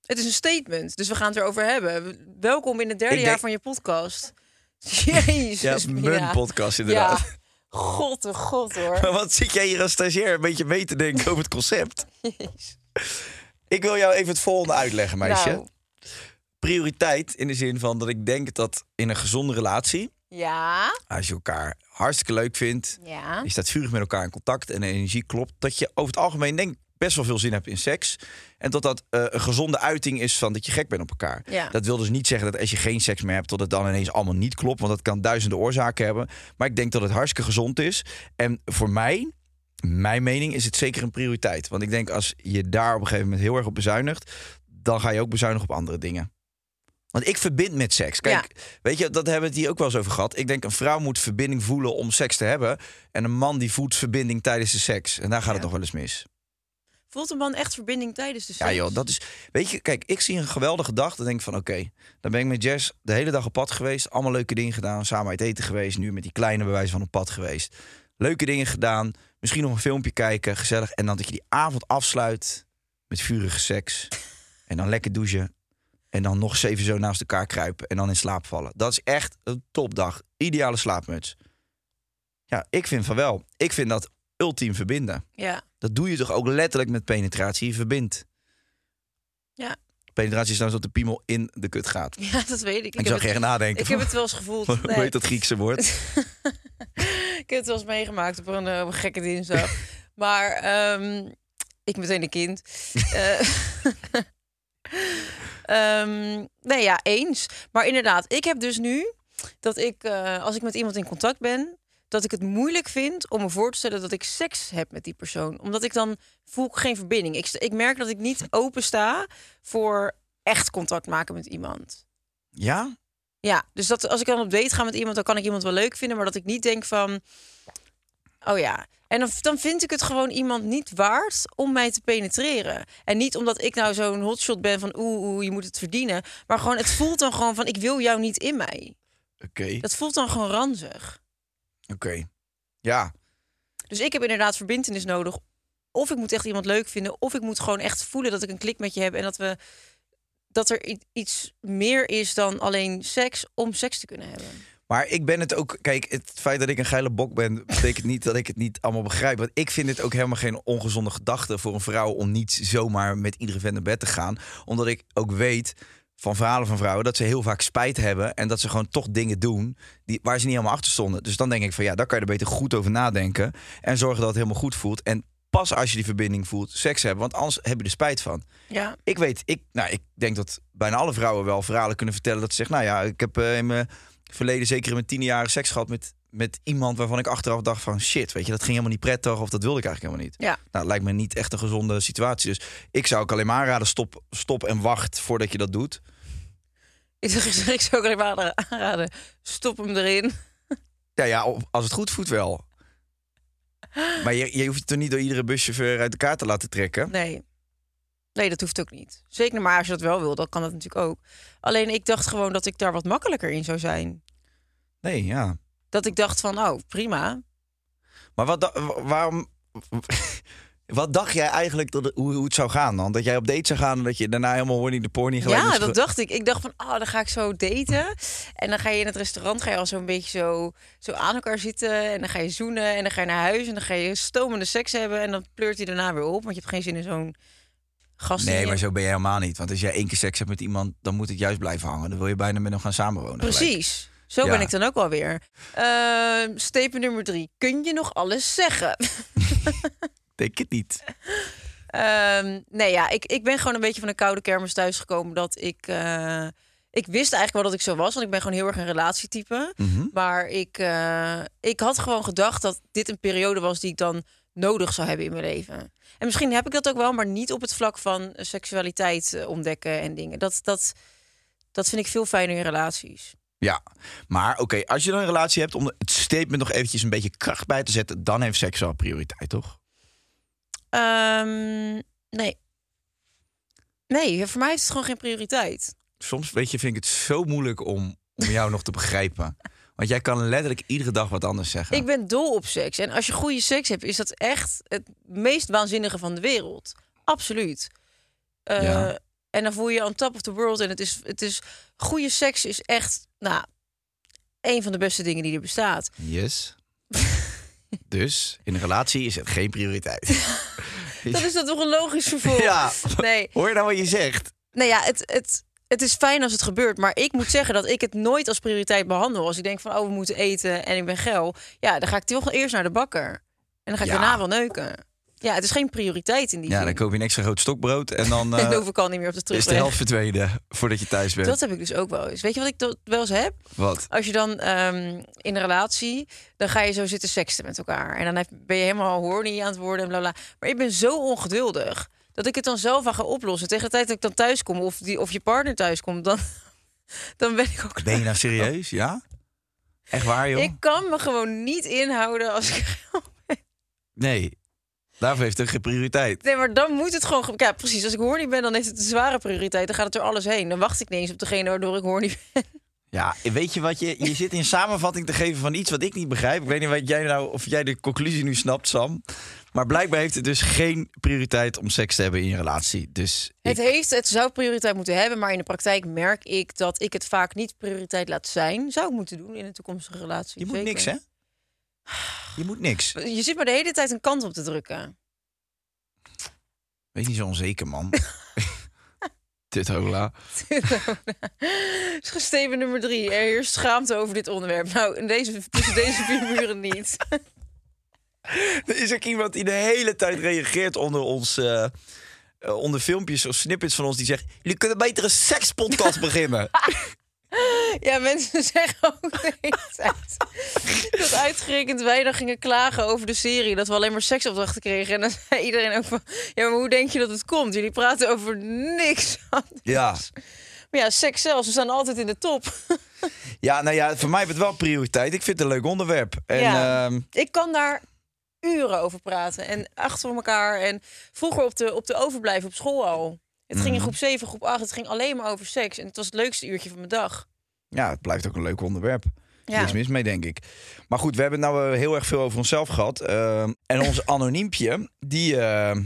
[SPEAKER 6] Het is een statement, dus we gaan het erover hebben. Welkom in het derde
[SPEAKER 2] Ik denk-
[SPEAKER 6] jaar van je podcast. Jezus,
[SPEAKER 2] Ja,
[SPEAKER 6] Mina.
[SPEAKER 2] mijn podcast inderdaad.
[SPEAKER 6] Ja, god, oh god hoor.
[SPEAKER 2] Maar wat zit jij hier als stagiair een beetje mee te denken over het concept?
[SPEAKER 6] Jezus.
[SPEAKER 2] Ik wil jou even het volgende uitleggen, meisje.
[SPEAKER 6] Nou,
[SPEAKER 2] Prioriteit in de zin van dat ik denk dat in een gezonde relatie,
[SPEAKER 6] ja,
[SPEAKER 2] als je elkaar hartstikke leuk vindt,
[SPEAKER 6] ja.
[SPEAKER 2] je staat vurig met elkaar in contact en de energie klopt, dat je over het algemeen denk ik best wel veel zin hebt in seks. En dat dat eh, een gezonde uiting is van dat je gek bent op elkaar.
[SPEAKER 6] Ja.
[SPEAKER 2] Dat wil dus niet zeggen dat als je geen seks meer hebt, dat het dan ineens allemaal niet klopt. Want dat kan duizenden oorzaken hebben. Maar ik denk dat het hartstikke gezond is. En voor mij, mijn mening, is het zeker een prioriteit. Want ik denk als je daar op een gegeven moment heel erg op bezuinigt, dan ga je ook bezuinigen op andere dingen. Want ik verbind met seks. Kijk, weet je, dat hebben we het hier ook wel eens over gehad. Ik denk een vrouw moet verbinding voelen om seks te hebben. En een man die voelt verbinding tijdens de seks. En daar gaat het nog wel eens mis.
[SPEAKER 6] Voelt een man echt verbinding tijdens de seks?
[SPEAKER 2] Ja joh, dat is... Weet je, kijk, ik zie een geweldige dag. Dan denk ik van, oké, dan ben ik met Jess de hele dag op pad geweest. Allemaal leuke dingen gedaan. Samen uit eten geweest. Nu met die kleine bewijs van op pad geweest. Leuke dingen gedaan. Misschien nog een filmpje kijken. Gezellig. En dan dat je die avond afsluit met vurige seks. En dan lekker douchen. En dan nog eens even zo naast elkaar kruipen. En dan in slaap vallen. Dat is echt een topdag. Ideale slaapmuts. Ja, ik vind van wel. Ik vind dat ultiem verbinden.
[SPEAKER 6] Ja,
[SPEAKER 2] Dat doe je toch ook letterlijk met penetratie. Je verbindt.
[SPEAKER 6] ja.
[SPEAKER 2] Penetratie is trouwens dat de piemel in de kut gaat. Ik,
[SPEAKER 6] ja dat weet ik.
[SPEAKER 2] zag je echt nadenken.
[SPEAKER 6] ik heb het wel eens gevoeld.
[SPEAKER 2] van, Hoe
[SPEAKER 6] Nee.
[SPEAKER 2] heet dat Griekse woord?
[SPEAKER 6] ik heb het wel eens meegemaakt op een, eh, op een gekke dinsdag. maar ehm, ik meteen een kind. Eh, ehm, nee, ja, eens. Maar inderdaad, ik heb dus nu dat ik, eh, als ik met iemand in contact ben, dat ik het moeilijk vind om me voor te stellen dat ik seks heb met die persoon. Omdat ik dan voel ik geen verbinding. Ik, sta- ik merk dat ik niet open sta voor echt contact maken met iemand.
[SPEAKER 2] Ja?
[SPEAKER 6] Ja, dus dat, als ik dan op date ga met iemand, dan kan ik iemand wel leuk vinden, maar dat ik niet denk van, oh ja. En dan, dan vind ik het gewoon iemand niet waard om mij te penetreren. En niet omdat ik nou zo'n hotshot ben van, oeh, oeh, je moet het verdienen. Maar gewoon, het voelt dan gewoon van, ik wil jou niet in mij.
[SPEAKER 2] Oké.
[SPEAKER 6] Dat voelt dan gewoon ranzig.
[SPEAKER 2] Oké. Ja.
[SPEAKER 6] Dus ik heb inderdaad verbintenis nodig. Of ik moet echt iemand leuk vinden, of ik moet gewoon echt voelen dat ik een klik met je heb en dat we dat er i- iets meer is dan alleen seks om seks te kunnen hebben.
[SPEAKER 2] Maar ik ben het ook... Kijk, het feit dat ik een geile bok ben... betekent niet dat ik het niet allemaal begrijp. Want ik vind het ook helemaal geen ongezonde gedachte... voor een vrouw om niet zomaar met iedere vent naar bed te gaan. Omdat ik ook weet van verhalen van vrouwen... dat ze heel vaak spijt hebben... en dat ze gewoon toch dingen doen... Die, waar ze niet helemaal achter stonden. Dus dan denk ik van ja, daar kan je er beter goed over nadenken... en zorgen dat het helemaal goed voelt. En pas als je die verbinding voelt, seks hebben. Want anders heb je er spijt van.
[SPEAKER 6] Ja.
[SPEAKER 2] Ik weet, ik, nou, ik denk dat bijna alle vrouwen wel verhalen kunnen vertellen dat ze zeggen, nou ja, ik heb eh, in mijn verleden zeker in mijn tien jaar seks gehad met, met iemand waarvan ik achteraf dacht van shit, weet je, dat ging helemaal niet prettig of dat wilde ik eigenlijk helemaal niet.
[SPEAKER 6] Ja.
[SPEAKER 2] Nou, lijkt me niet echt een gezonde situatie. Dus ik zou ook alleen maar aanraden, stop, stop en wacht voordat je dat doet.
[SPEAKER 6] Ik zou, ik zou ook alleen maar aanraden, stop hem erin.
[SPEAKER 2] Ja, ja, op- als het goed voelt wel. Maar je, je hoeft het toch niet door iedere buschauffeur uit elkaar te laten trekken?
[SPEAKER 6] Nee. Nee, dat hoeft ook niet. Zeker maar als je dat wel wil, dan kan dat natuurlijk ook. Alleen ik dacht gewoon dat ik daar wat makkelijker in zou zijn.
[SPEAKER 2] Nee, ja.
[SPEAKER 6] Dat ik dacht van, oh, prima.
[SPEAKER 2] Maar wat, da- wa- waarom... Wat dacht jij eigenlijk dat, het- hoe, hoe het zou gaan dan? Dat jij op date zou gaan en dat je daarna helemaal horny de porny gelijk
[SPEAKER 6] ja,
[SPEAKER 2] moest
[SPEAKER 6] dat
[SPEAKER 2] dus ge-
[SPEAKER 6] dacht ik. Ik dacht van, oh, dan ga ik zo daten. En dan ga je in het restaurant, ga je al zo'n beetje zo, zo aan elkaar zitten. En dan ga je zoenen en dan ga je naar huis. En dan ga je stomende seks hebben. En dan pleurt hij daarna weer op, want je hebt geen zin in zo'n gast. die
[SPEAKER 2] Nee,
[SPEAKER 6] je-
[SPEAKER 2] maar zo ben je helemaal niet. Want als jij één keer seks hebt met iemand, dan moet het juist blijven hangen. Dan wil je bijna met hem gaan samenwonen. gelijk.
[SPEAKER 6] Precies. Zo
[SPEAKER 2] Ja.
[SPEAKER 6] ben ik dan ook alweer. Ehm stepen nummer drie. Kun je nog alles zeggen?
[SPEAKER 2] Denk het niet.
[SPEAKER 6] Ehm, nee, ja, ik, ik ben gewoon een beetje van een koude kermis thuisgekomen. Dat ik. eh, ik wist eigenlijk wel dat ik zo was, want ik ben gewoon heel erg een relatietype. Maar ik, eh, ik had gewoon gedacht dat dit een periode was die ik dan nodig zou hebben in mijn leven. En misschien heb ik dat ook wel, maar niet op het vlak van eh, seksualiteit eh, ontdekken en dingen. Dat, dat, dat vind ik veel fijner in relaties.
[SPEAKER 2] Ja, maar oké, als je dan een relatie hebt, om het statement nog eventjes een beetje kracht bij te zetten, dan heeft seks wel prioriteit, toch?
[SPEAKER 6] Ehm, nee. Nee, voor mij heeft het gewoon geen prioriteit.
[SPEAKER 2] Soms, weet je, vind ik het zo moeilijk om, om jou nog te begrijpen. Want jij kan letterlijk iedere dag wat anders zeggen.
[SPEAKER 6] Ik ben dol op seks. En als je goede seks hebt, is dat echt het meest waanzinnige van de wereld. Absoluut. Eh,
[SPEAKER 2] Ja.
[SPEAKER 6] En dan voel je je on top of the world. En het is, het is goede seks is echt, nou, een van de beste dingen die er bestaat.
[SPEAKER 2] Yes. dus, in een relatie is het geen prioriteit.
[SPEAKER 6] Dat is dat toch een logisch vervolg?
[SPEAKER 2] Ja.
[SPEAKER 6] Nee.
[SPEAKER 2] Hoor je nou wat je zegt?
[SPEAKER 6] Nou ja, het, het, het is fijn als het gebeurt. Maar ik moet zeggen dat ik het nooit als prioriteit behandel. Als ik denk van, oh, we moeten eten en ik ben geil. Ja, dan ga ik toch eerst naar de bakker. En dan ga ik
[SPEAKER 2] Ja.
[SPEAKER 6] daarna wel neuken. Ja, het is geen prioriteit in die
[SPEAKER 2] Ja,
[SPEAKER 6] zin.
[SPEAKER 2] dan koop je een extra groot stokbrood en dan eh,
[SPEAKER 6] en dan hoef ik al niet meer op de
[SPEAKER 2] is
[SPEAKER 6] terugweg.
[SPEAKER 2] de helft verdwenen voordat je thuis bent.
[SPEAKER 6] Dat heb ik dus ook wel eens. Weet je wat ik dat wel eens heb?
[SPEAKER 2] Wat?
[SPEAKER 6] Als je dan ehm, in een relatie, dan ga je zo zitten seksten met elkaar. En dan heb- ben je helemaal horny aan het worden en bla bla. Maar ik ben zo ongeduldig dat ik het dan zelf aan ga oplossen. Tegen de tijd dat ik dan thuis kom of, die, of je partner thuis komt, dan, dan ben ik ook
[SPEAKER 2] Ben je nou serieus? Ja? Echt waar, joh?
[SPEAKER 6] Ik kan me gewoon niet inhouden als ik...
[SPEAKER 2] Nee. Daarvoor heeft het geen prioriteit.
[SPEAKER 6] Nee, maar dan moet het gewoon... ge- Ja, precies. Als ik horny ben, dan heeft het een zware prioriteit. Dan gaat het er alles heen. Dan wacht ik niet eens op degene waardoor ik horny ben.
[SPEAKER 2] Ja, weet je wat je... Je zit in samenvatting te geven van iets wat ik niet begrijp. Ik weet niet wat jij nou, of jij de conclusie nu snapt, Sam. Maar blijkbaar heeft het dus geen prioriteit om seks te hebben in je relatie. Dus
[SPEAKER 6] Het,
[SPEAKER 2] ik,
[SPEAKER 6] heeft, het zou prioriteit moeten hebben, maar in de praktijk merk ik dat ik het vaak niet prioriteit laat zijn. Zou ik moeten doen in een toekomstige relatie.
[SPEAKER 2] je moet
[SPEAKER 6] zeker.
[SPEAKER 2] niks, hè? Je moet niks.
[SPEAKER 6] Je zit maar de hele tijd een kant op te drukken.
[SPEAKER 2] Wees niet zo onzeker, man. Dit hola.
[SPEAKER 6] Dus gesteven nummer drie. Er heerst schaamte over dit onderwerp. Nou, in deze, tussen deze vier muren niet.
[SPEAKER 2] Er is ook iemand die de hele tijd reageert onder ons... eh, eh, onder filmpjes of snippets van ons die zegt... jullie kunnen beter een sekspodcast beginnen.
[SPEAKER 6] Ja, mensen zeggen ook de hele tijd dat uitgerekend wij dan gingen klagen over de serie. Dat we alleen maar seksopdrachten kregen. En dan zei iedereen ook van, ja, maar hoe denk je dat het komt? Jullie praten over niks anders.
[SPEAKER 2] Ja.
[SPEAKER 6] Maar ja, seks zelfs, we staan altijd in de top.
[SPEAKER 2] ja, nou ja, voor mij heeft het wel prioriteit. Ik vind het een leuk onderwerp. En,
[SPEAKER 6] ja.
[SPEAKER 2] ehm,
[SPEAKER 6] Ik kan daar uren over praten. En achter elkaar. En vroeger op de, op de overblijf op school al. Het ging in groep 7, groep 8. Het ging alleen maar over seks. En het was het leukste uurtje van mijn dag.
[SPEAKER 2] ja, het blijft ook een leuk onderwerp.
[SPEAKER 6] Ja.
[SPEAKER 2] Niks mis mee, denk ik. Maar goed, we hebben het nou eh, heel erg veel over onszelf gehad. Ehm, en ons anoniempje, die, eh,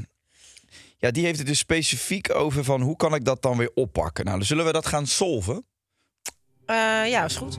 [SPEAKER 2] ja, die heeft het dus specifiek over van... hoe kan ik dat dan weer oppakken? Nou, dan zullen we dat gaan solven?
[SPEAKER 6] Eh, ja, is goed.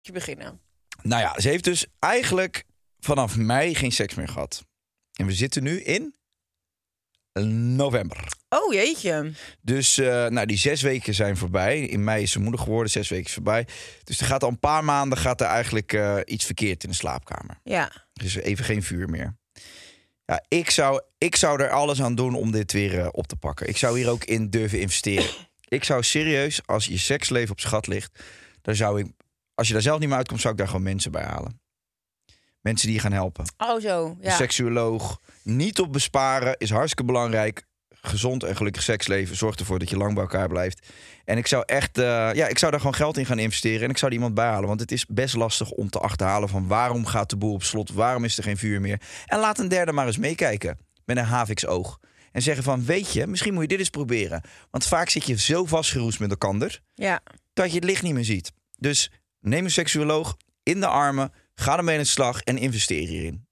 [SPEAKER 6] Je beginnen.
[SPEAKER 2] Nou ja, ze heeft dus eigenlijk vanaf mei geen seks meer gehad. En we zitten nu in november.
[SPEAKER 6] Oh jeetje.
[SPEAKER 2] Dus eh, nou, die zes weken zijn voorbij. In mei is ze moeder geworden, zes weken is voorbij. Dus er gaat al een paar maanden gaat er eigenlijk eh, iets verkeerd in de slaapkamer.
[SPEAKER 6] Ja.
[SPEAKER 2] Dus even geen vuur meer. Ja, ik, zou, ik zou er alles aan doen om dit weer eh, op te pakken. Ik zou hier ook in durven investeren. Ik zou serieus, als je seksleven op schat ligt, dan zou ik, als je daar zelf niet meer uitkomt, zou ik daar gewoon mensen bij halen. Mensen die je gaan helpen.
[SPEAKER 6] Oh zo.
[SPEAKER 2] Een
[SPEAKER 6] Ja.
[SPEAKER 2] seksuoloog. Niet op besparen is hartstikke belangrijk. Gezond en gelukkig seksleven zorgt ervoor dat je lang bij elkaar blijft. En ik zou echt, eh, ja, ik zou daar gewoon geld in gaan investeren. En ik zou er iemand bijhalen. Want het is best lastig om te achterhalen van waarom gaat de boel op slot? Waarom is er geen vuur meer? En laat een derde maar eens meekijken met een haviksoog. En zeggen van, weet je, misschien moet je dit eens proberen. Want vaak zit je zo vastgeroest met elkaar
[SPEAKER 6] Ja.
[SPEAKER 2] dat je het licht niet meer ziet. Dus neem een seksuoloog in de armen, ga ermee aan de slag en investeer hierin.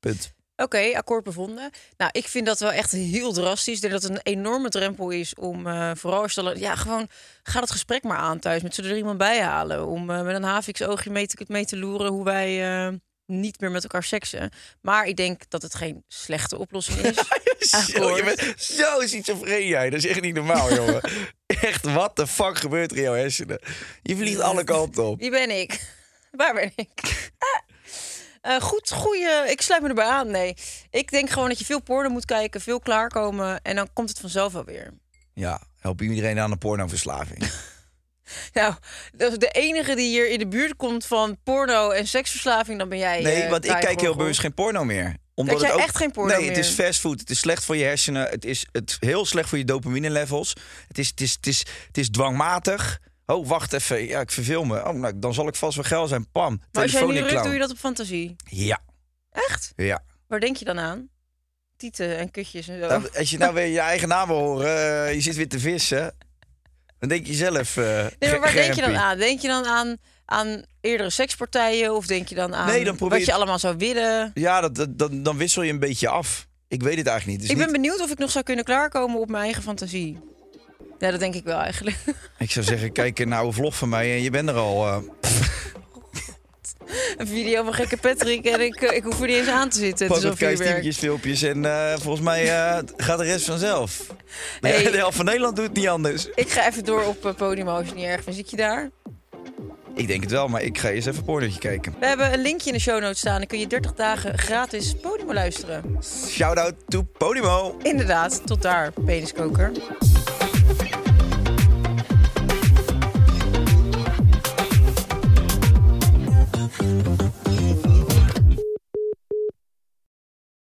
[SPEAKER 2] Punt.
[SPEAKER 6] Oké, akkoord bevonden. Nou, ik vind dat wel echt heel drastisch. Ik denk dat het een enorme drempel is om eh, vooral als je al- Ja, gewoon ga het gesprek maar aan thuis. Met z'n er iemand bij halen. Om eh, met een haviks oogje mee te, mee te loeren hoe wij eh, niet meer met elkaar seksen. Maar ik denk dat het geen slechte oplossing is.
[SPEAKER 2] Zo, je bent zo schizofreen jij. Dat is echt niet normaal, jongen. Echt, wat de fuck gebeurt er in jouw hersenen? Je vliegt alle kanten op.
[SPEAKER 6] Wie ben ik? Waar ben ik? Ah. Eh, goed, goeie. Ik sluit me erbij aan. Nee, ik denk gewoon dat je veel porno moet kijken, veel klaarkomen. En dan komt het vanzelf wel weer.
[SPEAKER 2] Ja, help iedereen aan de pornoverslaving.
[SPEAKER 6] Nou, dat is de enige die hier in de buurt komt van porno en seksverslaving, dan ben jij.
[SPEAKER 2] Nee,
[SPEAKER 6] eh,
[SPEAKER 2] want ik
[SPEAKER 6] Kai
[SPEAKER 2] kijk heel
[SPEAKER 6] Gorgel.
[SPEAKER 2] bewust geen porno meer.
[SPEAKER 6] Kijk jij echt geen porno
[SPEAKER 2] nee,
[SPEAKER 6] meer?
[SPEAKER 2] het is fastfood. Het is slecht voor je hersenen. Het is het, heel slecht voor je dopamine levels. Het is, het, is, het, is, het is dwangmatig. Oh, wacht even. Ja, ik verveel me. Oh, nou, dan zal ik vast wel geil zijn. Pam,
[SPEAKER 6] Maar als jij
[SPEAKER 2] telefoon
[SPEAKER 6] nu
[SPEAKER 2] in
[SPEAKER 6] rukt, doe je
[SPEAKER 2] clown.
[SPEAKER 6] dat op fantasie.
[SPEAKER 2] Ja,
[SPEAKER 6] Echt?
[SPEAKER 2] ja.
[SPEAKER 6] Waar denk je dan aan? Tieten en kutjes en zo.
[SPEAKER 2] Nou, als je nou weer je eigen naam wil horen, eh, je zit weer te vissen. Dan denk je zelf. eh,
[SPEAKER 6] nee, maar waar denk je dan
[SPEAKER 2] Germpie.
[SPEAKER 6] aan? Denk je dan aan, aan eerdere sekspartijen? Of denk je dan aan
[SPEAKER 2] Nee, dan probeer
[SPEAKER 6] wat je
[SPEAKER 2] je-
[SPEAKER 6] allemaal zou willen?
[SPEAKER 2] Ja, dat, dat, dan, dan wissel je een beetje af. Ik weet het eigenlijk niet.
[SPEAKER 6] ik
[SPEAKER 2] Het is
[SPEAKER 6] ben
[SPEAKER 2] niet...
[SPEAKER 6] benieuwd of ik nog zou kunnen klaarkomen op mijn eigen fantasie. Ja, dat denk ik wel eigenlijk.
[SPEAKER 2] ik zou zeggen, kijk een oude vlog van mij en je bent er al. eh,
[SPEAKER 6] Een video van gekke Patrick en ik, eh, ik hoef er niet eens aan te zitten. Het
[SPEAKER 2] Pak
[SPEAKER 6] is
[SPEAKER 2] wat
[SPEAKER 6] al vuurwerk.
[SPEAKER 2] kijkstientjes, filmpjes en eh, volgens mij eh, gaat de rest vanzelf. Maar
[SPEAKER 6] Hey.
[SPEAKER 2] ja, de helft van Nederland doet het niet anders.
[SPEAKER 6] Ik ga even door op eh, Podimo als je niet erg vindt. Zit je daar?
[SPEAKER 2] Ik denk het wel, maar ik ga eerst even een pornootje kijken.
[SPEAKER 6] We hebben een linkje in de show notes staan. Dan kun je 30 dagen gratis Podimo luisteren.
[SPEAKER 2] Shout-out to Podimo.
[SPEAKER 6] Inderdaad, tot daar, peniskoker.